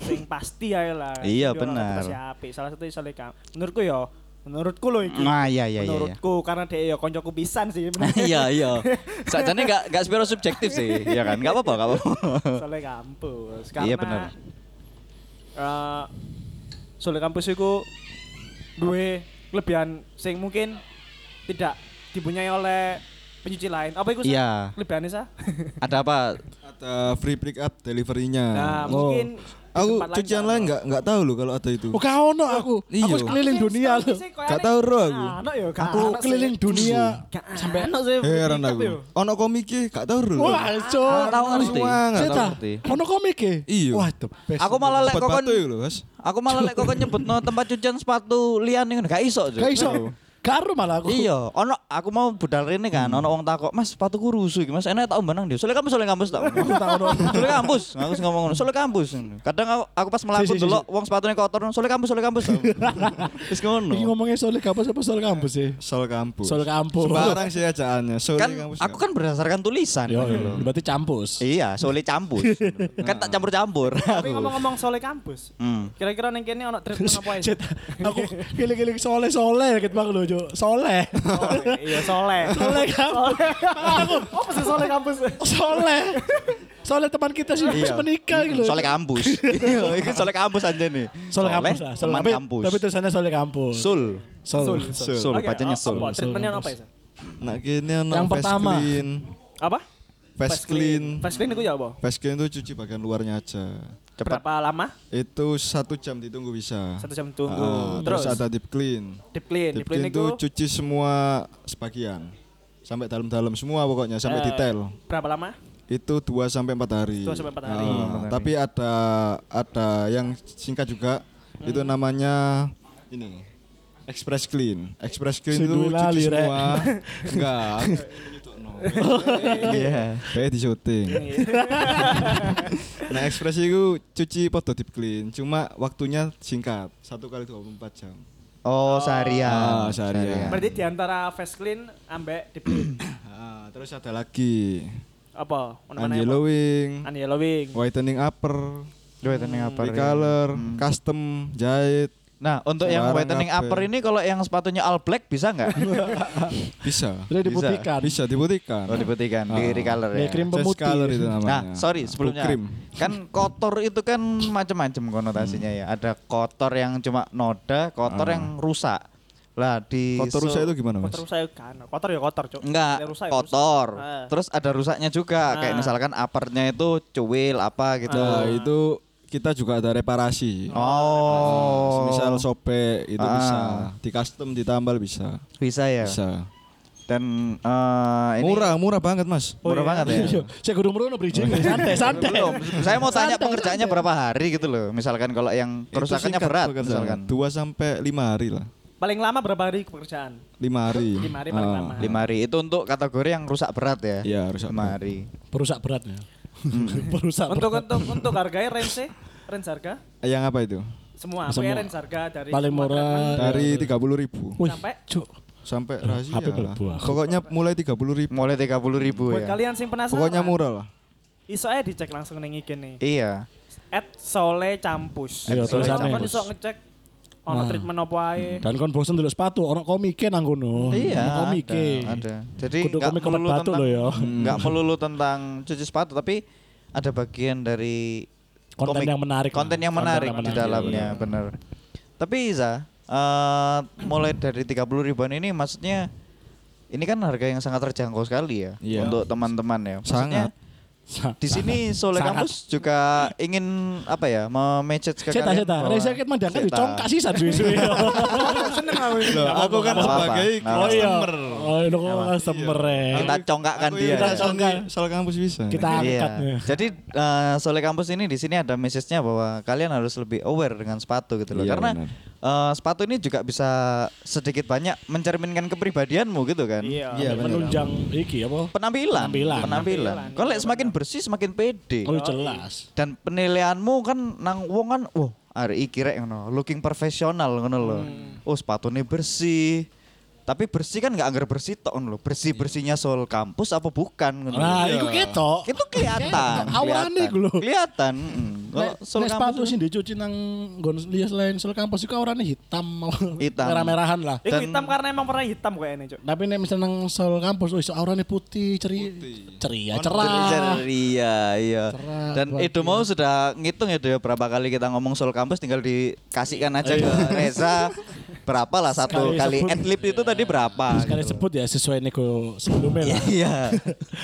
[SPEAKER 2] sing pasti ae lah.
[SPEAKER 1] Iya,
[SPEAKER 2] Kudu ono
[SPEAKER 1] benar.
[SPEAKER 2] adaptasi apik. Salah satu iso kampus. Menurutku ya, menurutku loh iki.
[SPEAKER 1] Nah, iya iya iya. iya.
[SPEAKER 2] Menurutku karena dia ya koncoku pisan sih.
[SPEAKER 1] Iya iya. Sajane gak gak sepiro subjektif sih, ya kan? Gak apa-apa, gak apa-apa.
[SPEAKER 2] Soalnya kampus. Karena,
[SPEAKER 1] Iya, bener.
[SPEAKER 2] eh, soalnya kampus itu dua kelebihan sing mungkin tidak dipunyai oleh pencuci lain. Apa itu? Sa?
[SPEAKER 1] Iya. Hmm.
[SPEAKER 2] Kelebihannya sah?
[SPEAKER 1] Ada apa?
[SPEAKER 4] Ada free pick up deliverynya.
[SPEAKER 2] nah,
[SPEAKER 3] Oh.
[SPEAKER 2] mungkin
[SPEAKER 4] aku cucian lain nggak nggak tahu loh kalau ada itu.
[SPEAKER 3] Oh, gak ono aku.
[SPEAKER 4] Iya.
[SPEAKER 3] Aku keliling dunia loh.
[SPEAKER 4] Gak tau, Ro,
[SPEAKER 2] nah,
[SPEAKER 4] Gitu. aku.
[SPEAKER 3] Aku keliling dunia.
[SPEAKER 2] sampai anak sih.
[SPEAKER 4] Heran
[SPEAKER 2] Tetep yo.
[SPEAKER 4] aku. Ono komiknya gak tahu loh.
[SPEAKER 3] Wah,
[SPEAKER 1] Aku
[SPEAKER 3] cok.
[SPEAKER 1] Oh, tahu ngerti.
[SPEAKER 4] Semua
[SPEAKER 1] Aku
[SPEAKER 4] nggak tahu.
[SPEAKER 3] Cita,
[SPEAKER 1] ngerti.
[SPEAKER 3] ono komik e?
[SPEAKER 4] Iya.
[SPEAKER 3] Wah, the best.
[SPEAKER 1] Aku malah lek
[SPEAKER 4] Obat
[SPEAKER 1] kokon
[SPEAKER 4] batu ya loh, Mas.
[SPEAKER 1] Aku malah lek kokon nyebutno tempat cucian sepatu lian ngono gak iso. Jo.
[SPEAKER 3] gak iso. Karo malah aku.
[SPEAKER 1] Iya, ono aku mau budal rene kan, ono wong takok, "Mas, sepatuku rusuh iki, Mas. Enak tak umbanang dia." Soale kampus, soale kampus tak.
[SPEAKER 3] Aku tak ono.
[SPEAKER 1] Soale kampus, Nah, aku sing ngomong ngono. Soale kampus. Kadang aku, aku pas melaku
[SPEAKER 3] Si, si, si,
[SPEAKER 1] delok wong sepatune kotor, soale kampus, soale kampus. Wis
[SPEAKER 3] Iki
[SPEAKER 1] ngono.
[SPEAKER 3] ngomongnya soal kampus apa soal kampus sih?
[SPEAKER 4] Sol kampus.
[SPEAKER 3] Soal Iya. kampus.
[SPEAKER 4] Sembarang sih ajaannya. Sol
[SPEAKER 1] Kan
[SPEAKER 4] kampus. ya.
[SPEAKER 1] aku kan berdasarkan tulisan.
[SPEAKER 3] ya. Yo, yo. berarti campus.
[SPEAKER 1] Iya, soalnya campus. kan tak campur-campur.
[SPEAKER 2] Tapi ngomong-ngomong soal kampus,
[SPEAKER 1] Hmm.
[SPEAKER 2] kira-kira neng kene ono treatment apa ya?
[SPEAKER 3] Cet, aku giling-giling soleh soleh gitu bang lo jo soleh
[SPEAKER 2] Soleh, Iya, soleh.
[SPEAKER 3] Soleh kampus.
[SPEAKER 2] Oh, pesen soleh kampus.
[SPEAKER 3] soleh soleh teman kita sih
[SPEAKER 1] Iya.
[SPEAKER 3] menikah gitu
[SPEAKER 1] Soalnya kampus. Iya, itu soalnya kampus aja nih.
[SPEAKER 3] soleh kampus lah soleh
[SPEAKER 1] teman
[SPEAKER 3] tapi,
[SPEAKER 1] kampus.
[SPEAKER 3] tapi tulisannya soleh kampus
[SPEAKER 1] Sul.
[SPEAKER 3] sol
[SPEAKER 4] Sol.
[SPEAKER 1] Sul,
[SPEAKER 2] Oke,
[SPEAKER 1] bacanya
[SPEAKER 3] oh,
[SPEAKER 2] apa-
[SPEAKER 1] sul.
[SPEAKER 2] apa? Treatmentnya
[SPEAKER 3] Sul
[SPEAKER 2] apa ya?
[SPEAKER 3] kampus.
[SPEAKER 2] Sa?
[SPEAKER 4] Nah kini ono
[SPEAKER 3] Yang
[SPEAKER 4] face
[SPEAKER 3] pertama.
[SPEAKER 4] clean.
[SPEAKER 2] Apa?
[SPEAKER 4] Face clean.
[SPEAKER 2] Face clean itu ya apa?
[SPEAKER 4] Face clean itu cuci bagian luarnya aja.
[SPEAKER 1] Cepat.
[SPEAKER 2] Berapa lama?
[SPEAKER 4] Itu satu jam ditunggu bisa.
[SPEAKER 2] Satu jam tunggu.
[SPEAKER 4] Ah,
[SPEAKER 2] Terus,
[SPEAKER 4] terus ada deep clean.
[SPEAKER 2] deep clean.
[SPEAKER 4] Deep
[SPEAKER 2] Deep clean
[SPEAKER 4] clean
[SPEAKER 2] itu
[SPEAKER 4] itu cuci semua sebagian. Sampai dalam-dalam semua pokoknya
[SPEAKER 2] Eh,
[SPEAKER 4] sampai detail.
[SPEAKER 2] berapa lama?
[SPEAKER 4] Itu 2 sampai 4 hari.
[SPEAKER 2] Dua sampai empat hari.
[SPEAKER 4] Ah, tapi ada ada yang singkat juga.
[SPEAKER 2] Hmm.
[SPEAKER 4] Itu namanya ini. Express clean. Express clean itu
[SPEAKER 3] Sudah lali,
[SPEAKER 4] cuci
[SPEAKER 3] Rek.
[SPEAKER 4] semua. Enggak.
[SPEAKER 1] Iya.
[SPEAKER 4] Kayak di syuting.
[SPEAKER 2] Iya.
[SPEAKER 4] nah, express itu cuci foto deep clean, cuma waktunya singkat, satu kali 24 jam.
[SPEAKER 1] Oh, seharian.
[SPEAKER 4] Ah, seharian.
[SPEAKER 2] Berarti di antara face clean ambek deep clean
[SPEAKER 4] Ah, terus ada lagi
[SPEAKER 2] apa? Ono mana ya, Pak?
[SPEAKER 4] angeloing,
[SPEAKER 2] Angeloing.
[SPEAKER 4] whitening upper,
[SPEAKER 1] Dua whitening upper. ya.
[SPEAKER 4] recolor, custom, jahit,
[SPEAKER 1] Nah, untuk yang
[SPEAKER 4] Sembarang
[SPEAKER 1] whitening
[SPEAKER 4] apa.
[SPEAKER 1] upper ini kalau yang sepatunya all black bisa nggak?
[SPEAKER 4] bisa.
[SPEAKER 3] Sudah diputihkan.
[SPEAKER 4] Bisa diputihkan.
[SPEAKER 1] oh, diputihkan, di
[SPEAKER 4] Ah.
[SPEAKER 1] recolor
[SPEAKER 3] Ya,
[SPEAKER 1] ya.
[SPEAKER 3] krim
[SPEAKER 4] Chest
[SPEAKER 3] pemutih.
[SPEAKER 4] color itu namanya.
[SPEAKER 1] Nah, sorry sebelumnya.
[SPEAKER 4] Krim.
[SPEAKER 1] Kan kotor itu kan macam-macam konotasinya
[SPEAKER 4] Hmm.
[SPEAKER 1] ya. Ada kotor yang cuma noda, kotor
[SPEAKER 4] Ah.
[SPEAKER 1] yang rusak. Lah di
[SPEAKER 4] Kotor
[SPEAKER 1] so-
[SPEAKER 4] rusak itu gimana, Mas?
[SPEAKER 2] Kotor rusak ya kan. Kotor ya kotor, Cuk.
[SPEAKER 1] Enggak,
[SPEAKER 2] Ya rusak ya
[SPEAKER 1] kotor.
[SPEAKER 2] Ah.
[SPEAKER 1] Terus ada rusaknya juga, kayak
[SPEAKER 2] Ah. iya.
[SPEAKER 1] misalkan uppernya itu cuil apa gitu.
[SPEAKER 4] Nah, itu kita juga ada reparasi.
[SPEAKER 1] Oh,
[SPEAKER 4] Ah, Misal sobek itu
[SPEAKER 1] Ah.
[SPEAKER 4] bisa, di custom ditambal bisa.
[SPEAKER 1] bisa ya.
[SPEAKER 4] Bisa.
[SPEAKER 1] Dan eh, ini
[SPEAKER 4] Murah, murah banget, Mas.
[SPEAKER 1] murah banget ya.
[SPEAKER 3] Iya, saya gurung merono bridging santai santai.
[SPEAKER 1] Belum. Saya mau tanya pengerjaannya berapa hari gitu loh. Misalkan kalau yang kerusakannya berat misalkan.
[SPEAKER 4] 2 sampai 5 hari lah.
[SPEAKER 2] Paling lama berapa hari pekerjaan?
[SPEAKER 4] 5 hari.
[SPEAKER 2] Lima hari paling
[SPEAKER 4] Ah.
[SPEAKER 2] lama.
[SPEAKER 1] Lima hari itu untuk kategori yang rusak berat ya.
[SPEAKER 4] Iya, rusak
[SPEAKER 1] Lima
[SPEAKER 4] berat.
[SPEAKER 1] hari.
[SPEAKER 3] Perusak beratnya. Hmm. Perusak
[SPEAKER 2] Untuk
[SPEAKER 3] berat.
[SPEAKER 2] untuk untuk harganya range range harga
[SPEAKER 4] Ah. Yang apa itu?
[SPEAKER 2] semua,
[SPEAKER 3] Semua.
[SPEAKER 2] Pokoknya range harga dari
[SPEAKER 3] Paling
[SPEAKER 2] semua kan.
[SPEAKER 1] Eh,
[SPEAKER 3] murah.
[SPEAKER 4] Dari 30.000
[SPEAKER 3] Wih,
[SPEAKER 2] Sampai?
[SPEAKER 3] Cuk.
[SPEAKER 4] sampai rahasia.
[SPEAKER 3] HP
[SPEAKER 4] lah.
[SPEAKER 3] melebu aku.
[SPEAKER 4] Pokoknya mulai 30.000.
[SPEAKER 1] Mulai 30.000 ribu ya.
[SPEAKER 2] Buat kalian sing penasaran.
[SPEAKER 4] Pokoknya murah lah.
[SPEAKER 2] Iso aja dicek langsung neng IG nih.
[SPEAKER 1] Iya.
[SPEAKER 2] At Sole Campus.
[SPEAKER 3] Iya,
[SPEAKER 2] Sole Campus.
[SPEAKER 3] tulisannya.
[SPEAKER 2] Kan iso ngecek ono
[SPEAKER 3] Nah.
[SPEAKER 2] treatment apa ae.
[SPEAKER 3] Dan kon bosen dulu sepatu, orang komike nang kono.
[SPEAKER 1] Iya.
[SPEAKER 3] Orang komike.
[SPEAKER 1] Ada, ada. Jadi
[SPEAKER 3] eh. Kudu
[SPEAKER 1] nggak
[SPEAKER 3] komik
[SPEAKER 1] melulu
[SPEAKER 3] kempet batu
[SPEAKER 1] tentang Hmm.
[SPEAKER 3] loh ya.
[SPEAKER 1] nggak melulu tentang cuci sepatu tapi ada bagian dari
[SPEAKER 3] Konten yang menarik
[SPEAKER 1] Konten
[SPEAKER 3] lah.
[SPEAKER 1] yang
[SPEAKER 3] Konten
[SPEAKER 1] menarik
[SPEAKER 3] yang
[SPEAKER 1] di
[SPEAKER 3] menarik,
[SPEAKER 1] dalamnya,
[SPEAKER 3] iya.
[SPEAKER 1] bener. Tapi Iza, eh, mulai dari 30 ribuan ini maksudnya ini kan harga yang sangat terjangkau sekali ya
[SPEAKER 4] Iya.
[SPEAKER 1] untuk teman-teman ya. Maksudnya,
[SPEAKER 4] Sangat.
[SPEAKER 3] Sa-
[SPEAKER 1] Di sini Soleh
[SPEAKER 3] Sangat.
[SPEAKER 1] Kampus juga ingin apa ya, me-message ke
[SPEAKER 3] Seta,
[SPEAKER 1] kalian
[SPEAKER 3] seta.
[SPEAKER 1] bahwa-
[SPEAKER 3] Reza ket mandang kan
[SPEAKER 1] Seta.
[SPEAKER 3] dicongkak sih suwe-suwe.
[SPEAKER 2] Seneng Oh, aku.
[SPEAKER 4] Loh, aku kan
[SPEAKER 1] apa-apa.
[SPEAKER 4] sebagai
[SPEAKER 1] Nggak
[SPEAKER 3] Oh iya.
[SPEAKER 4] customer.
[SPEAKER 3] Oh, ini kok
[SPEAKER 1] Iya.
[SPEAKER 3] customer. eh.
[SPEAKER 1] Kita congkakkan dia.
[SPEAKER 4] Kita
[SPEAKER 1] ya.
[SPEAKER 4] congkak. Soal kampus bisa.
[SPEAKER 3] Kita
[SPEAKER 1] Iya.
[SPEAKER 3] angkat. ya.
[SPEAKER 1] Jadi eh, Soleh Kampus ini di sini ada message-nya bahwa kalian harus lebih aware dengan sepatu gitu loh.
[SPEAKER 4] Iya,
[SPEAKER 1] Karena
[SPEAKER 4] benar.
[SPEAKER 1] eh, sepatu ini juga bisa sedikit banyak mencerminkan kepribadianmu gitu kan.
[SPEAKER 2] Iya.
[SPEAKER 4] Iya, bener.
[SPEAKER 3] Menunjang iki
[SPEAKER 1] Penampilan.
[SPEAKER 3] apa? Penampilan. Oh,
[SPEAKER 1] Penampilan.
[SPEAKER 2] Penampilan,
[SPEAKER 1] Kalau
[SPEAKER 2] iya,
[SPEAKER 1] semakin bersih semakin pede.
[SPEAKER 3] Kalau jelas.
[SPEAKER 1] Dan penilaianmu kan nang wong kan wah hari iki rek ngono, looking profesional ngono loh.
[SPEAKER 3] Hmm.
[SPEAKER 1] Oh sepatune bersih. Tapi bersih kan nggak anggar bersih tok ngono loh. Bersih-bersihnya soal kampus apa bukan ngono. loh.
[SPEAKER 3] Nah, Iya. iku ketok.
[SPEAKER 1] Itu kelihatan.
[SPEAKER 3] Awalnya
[SPEAKER 1] kelihatan.
[SPEAKER 3] iku lho.
[SPEAKER 1] Kelihatan. mm. Kalau
[SPEAKER 3] Nek,
[SPEAKER 1] sol kampus
[SPEAKER 3] nek
[SPEAKER 1] kan
[SPEAKER 3] sepatu sih dicuci nang nggon lias lain sol kampus iku warnane hitam.
[SPEAKER 1] Hitam.
[SPEAKER 3] Merah-merahan lah.
[SPEAKER 1] Dan-
[SPEAKER 2] Iku hitam karena emang pernah hitam kayaknya, Cuk.
[SPEAKER 3] Tapi nek misalnya nang sol kampus wis aurane putih, ceri ceria, Ya, cerah.
[SPEAKER 1] ceria, iya.
[SPEAKER 3] Cerah,
[SPEAKER 1] Dan
[SPEAKER 3] bahagia.
[SPEAKER 1] Edo mau sudah ngitung ya Edo ya, berapa kali kita ngomong soal kampus tinggal dikasihkan aja ke Reza berapa lah satu
[SPEAKER 3] Iya. Sekali
[SPEAKER 1] kali
[SPEAKER 3] sebut.
[SPEAKER 1] adlib itu tadi berapa?
[SPEAKER 3] Sekali
[SPEAKER 1] gitu.
[SPEAKER 3] sebut ya sesuai nego sebelumnya lah.
[SPEAKER 1] Iya,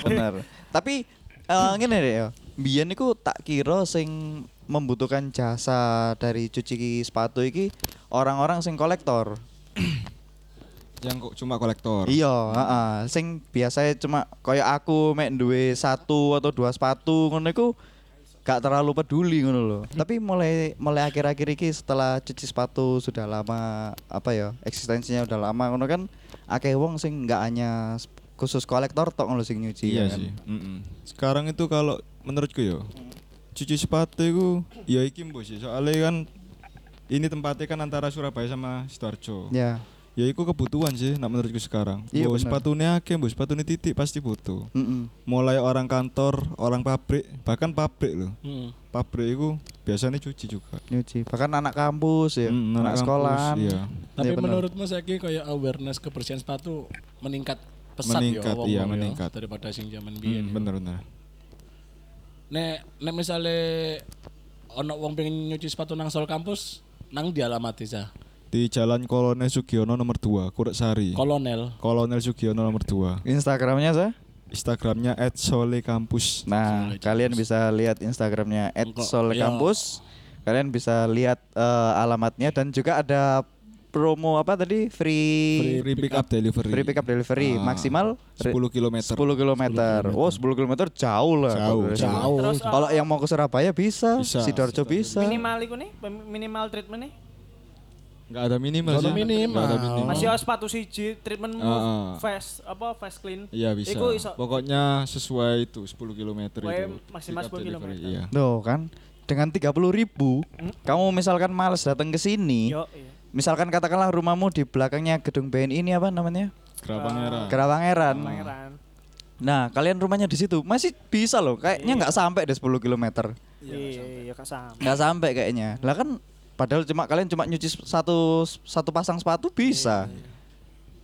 [SPEAKER 1] benar. Tapi eh ngene deh ya. Biyen niku tak kira sing membutuhkan jasa dari cuci sepatu iki orang-orang sing kolektor.
[SPEAKER 4] Yang kok cuma kolektor.
[SPEAKER 1] Iya, heeh. Sing biasanya cuma kayak aku mek duwe satu atau dua sepatu ngono iku gak terlalu peduli ngono loh.
[SPEAKER 4] Hmm.
[SPEAKER 1] Tapi mulai mulai akhir-akhir ini setelah cuci sepatu sudah lama apa ya eksistensinya udah lama ngono kan akeh wong sing nggak hanya s- khusus kolektor tok ngono sing nyuci ya
[SPEAKER 4] Iya
[SPEAKER 1] kan.
[SPEAKER 4] sih. Mm-mm. Sekarang itu kalau menurutku yo cuci sepatu itu ya iki mbok sih soalnya kan ini tempatnya kan antara Surabaya sama Sidoarjo.
[SPEAKER 1] Ya.
[SPEAKER 4] Ya iku kebutuhan sih nak menurutku sekarang.
[SPEAKER 1] Iya, bener.
[SPEAKER 4] Mbok sepatune akeh, mbok sepatune titik pasti butuh.
[SPEAKER 1] Mm-mm.
[SPEAKER 4] Mulai orang kantor, orang pabrik, bahkan pabrik loh.
[SPEAKER 3] Hmm.
[SPEAKER 4] Pabrik itu biasanya cuci juga.
[SPEAKER 1] Nyuci. Bahkan anak kampus ya,
[SPEAKER 4] Mm,
[SPEAKER 1] anak,
[SPEAKER 4] kampus,
[SPEAKER 1] sekolahan.
[SPEAKER 4] Iya.
[SPEAKER 3] Tapi
[SPEAKER 1] Iya, bener.
[SPEAKER 3] menurutmu saiki kayak awareness kebersihan sepatu meningkat pesat ya,
[SPEAKER 4] Meningkat, iya,
[SPEAKER 3] wong-wong ya,
[SPEAKER 4] meningkat.
[SPEAKER 3] daripada sing zaman biyen. ya.
[SPEAKER 4] Hmm, bener bener.
[SPEAKER 3] Nek nek misale ono wong pengen nyuci sepatu nang sol kampus, nang di alamat Iza.
[SPEAKER 4] Di Jalan Kolonel Sugiono nomor 2, Kureksari.
[SPEAKER 3] Kolonel.
[SPEAKER 4] Kolonel Sugiono nomor 2.
[SPEAKER 1] Instagramnya Nah, saya.
[SPEAKER 4] Instagramnya @solekampus.
[SPEAKER 1] Nah, kalian bisa lihat Instagramnya
[SPEAKER 3] Engko, iya.
[SPEAKER 1] @solekampus. Kalian bisa lihat eh, alamatnya dan juga ada promo apa tadi free
[SPEAKER 4] Free pick up delivery.
[SPEAKER 1] free pickup delivery
[SPEAKER 4] Ah,
[SPEAKER 1] maksimal re-
[SPEAKER 4] 10 km.
[SPEAKER 1] 10 km. Oh, 10 km jauh lah.
[SPEAKER 4] Jauh,
[SPEAKER 1] Dari sini.
[SPEAKER 3] Jauh.
[SPEAKER 2] Terus uh,
[SPEAKER 1] Kalau yang mau ke Surabaya bisa,
[SPEAKER 4] Bisa.
[SPEAKER 1] Sidoarjo bisa.
[SPEAKER 2] minimal iku nih, pem- minimal treatment nih.
[SPEAKER 4] Enggak ada minimal
[SPEAKER 3] Kalau
[SPEAKER 4] sih.
[SPEAKER 3] minimal.
[SPEAKER 4] Nggak ada minimal.
[SPEAKER 2] Masih harus sepatu siji, treatment
[SPEAKER 4] Ah, ah.
[SPEAKER 2] face apa face clean.
[SPEAKER 4] Iya bisa.
[SPEAKER 2] Iku iso.
[SPEAKER 4] Pokoknya sesuai itu 10 km itu.
[SPEAKER 2] Pokoknya maksimal
[SPEAKER 4] Pick up
[SPEAKER 2] 10
[SPEAKER 4] delivery,
[SPEAKER 2] kilometer.
[SPEAKER 4] Iya.
[SPEAKER 1] Tuh kan, dengan 30.000 kamu misalkan males datang ke sini,
[SPEAKER 2] Hmm? Yo, iya.
[SPEAKER 1] misalkan katakanlah rumahmu di belakangnya gedung BNI ini apa namanya?
[SPEAKER 4] Gerabang merah.
[SPEAKER 3] Hmm.
[SPEAKER 1] Kerawangeran.
[SPEAKER 2] Pangeran.
[SPEAKER 1] Nah, kalian rumahnya di situ masih bisa loh.
[SPEAKER 3] Iya.
[SPEAKER 1] Kayaknya nggak sampai deh 10 km.
[SPEAKER 2] Iya, iya, Kak Sam.
[SPEAKER 1] Nggak sampai kayaknya. Lah kan padahal cuma kalian cuma nyuci satu satu pasang sepatu
[SPEAKER 3] Iya,
[SPEAKER 1] bisa.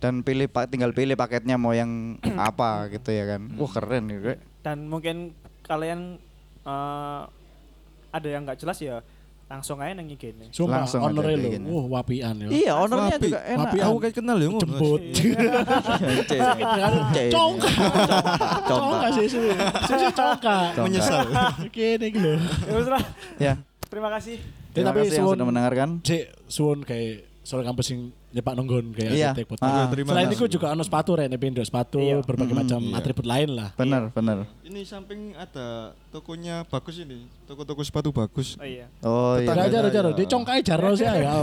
[SPEAKER 1] Dan pilih pak tinggal pilih paketnya mau yang apa gitu ya kan.
[SPEAKER 3] Hmm.
[SPEAKER 1] Wah, keren gitu. Rek.
[SPEAKER 2] Dan mungkin kalian eh, ada yang nggak jelas ya langsung aja nang IG nih.
[SPEAKER 3] Sumpah
[SPEAKER 1] Langsung
[SPEAKER 3] honor
[SPEAKER 1] aja
[SPEAKER 3] lo.
[SPEAKER 1] kayaknya.
[SPEAKER 3] Wah, wapian ya.
[SPEAKER 1] Iya, ownernya
[SPEAKER 4] Wapi.
[SPEAKER 1] juga enak.
[SPEAKER 3] Wapi
[SPEAKER 4] Aku kayak kenal ya ngono.
[SPEAKER 3] Jemput.
[SPEAKER 1] Cek. Cek.
[SPEAKER 3] Congkak.
[SPEAKER 1] Iya, Congkak.
[SPEAKER 3] Congkak sih sih. Sih congkak. gitu.
[SPEAKER 1] Congkak.
[SPEAKER 4] Menyesal.
[SPEAKER 3] Kene iki lho.
[SPEAKER 2] Ya wis lah.
[SPEAKER 1] Ya.
[SPEAKER 2] Terima kasih.
[SPEAKER 1] Terima
[SPEAKER 3] tapi
[SPEAKER 1] kasih yang
[SPEAKER 3] suwun.
[SPEAKER 1] sudah mendengarkan.
[SPEAKER 3] Cek suwun kayak soal kampus sing nyepak nonggon kayak
[SPEAKER 1] Iya.
[SPEAKER 3] ada take pot.
[SPEAKER 1] Ah.
[SPEAKER 4] Terima
[SPEAKER 3] Selain
[SPEAKER 4] kasih.
[SPEAKER 3] itu juga ono sepatu rene pindo sepatu berbagai macam
[SPEAKER 1] Iya.
[SPEAKER 3] atribut lain lah.
[SPEAKER 1] Benar, benar.
[SPEAKER 4] Ini samping ada tokonya bagus ini. Toko-toko sepatu bagus.
[SPEAKER 2] Oh iya.
[SPEAKER 1] Oh iya.
[SPEAKER 3] Jaro jaro
[SPEAKER 4] saya.
[SPEAKER 3] jaro di congkai jaro sih ya.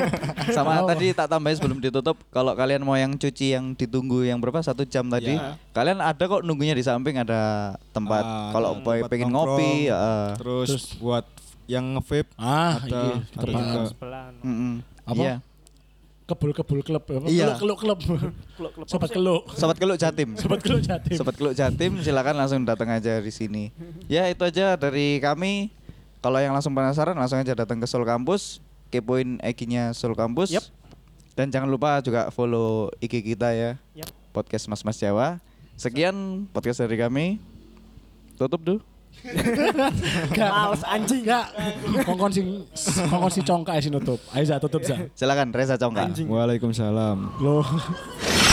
[SPEAKER 1] Sama tadi tak tambahin sebelum ditutup, kalau kalian mau yang cuci yang ditunggu yang berapa satu jam tadi, kalian ada kok nunggunya di samping ada tempat.
[SPEAKER 4] Iya. Ah,
[SPEAKER 1] kalau
[SPEAKER 4] ada
[SPEAKER 1] boy
[SPEAKER 4] tempat
[SPEAKER 1] pengen
[SPEAKER 4] nongkrong.
[SPEAKER 1] ngopi, heeh.
[SPEAKER 4] Terus,
[SPEAKER 3] Terus.
[SPEAKER 4] buat yang nge-vape
[SPEAKER 3] Ah,
[SPEAKER 4] ada
[SPEAKER 3] iki
[SPEAKER 4] ada
[SPEAKER 3] tempat
[SPEAKER 4] juga.
[SPEAKER 2] Sebelah. anu. no.
[SPEAKER 1] Mm-mm.
[SPEAKER 3] Apa?
[SPEAKER 1] Iya.
[SPEAKER 3] kebul-kebul klub.
[SPEAKER 1] Iya.
[SPEAKER 3] Keluk keluk klub.
[SPEAKER 2] Kluk, kluk,
[SPEAKER 3] Sobat
[SPEAKER 2] apa sih?
[SPEAKER 3] keluk.
[SPEAKER 1] Sobat Keluk Jatim.
[SPEAKER 3] Sobat keluk jatim.
[SPEAKER 1] Sobat Keluk Jatim silakan langsung datang aja di sini. Ya itu aja dari kami. Kalau yang langsung penasaran langsung aja datang ke Soul Campus, kepoin IG-nya Soul Campus.
[SPEAKER 2] Yap.
[SPEAKER 1] Dan jangan lupa juga follow IG kita ya.
[SPEAKER 2] Yap.
[SPEAKER 1] Podcast Mas Mas Jawa. Sekian podcast dari kami. Tutup dulu.
[SPEAKER 3] Gak. Males anjing. Gak. Kongkon sing kongkon si congkai sing nutup. Ayo Za, tutup Za.
[SPEAKER 1] Silakan Reza Congka.
[SPEAKER 4] Waalaikumsalam.
[SPEAKER 3] Loh.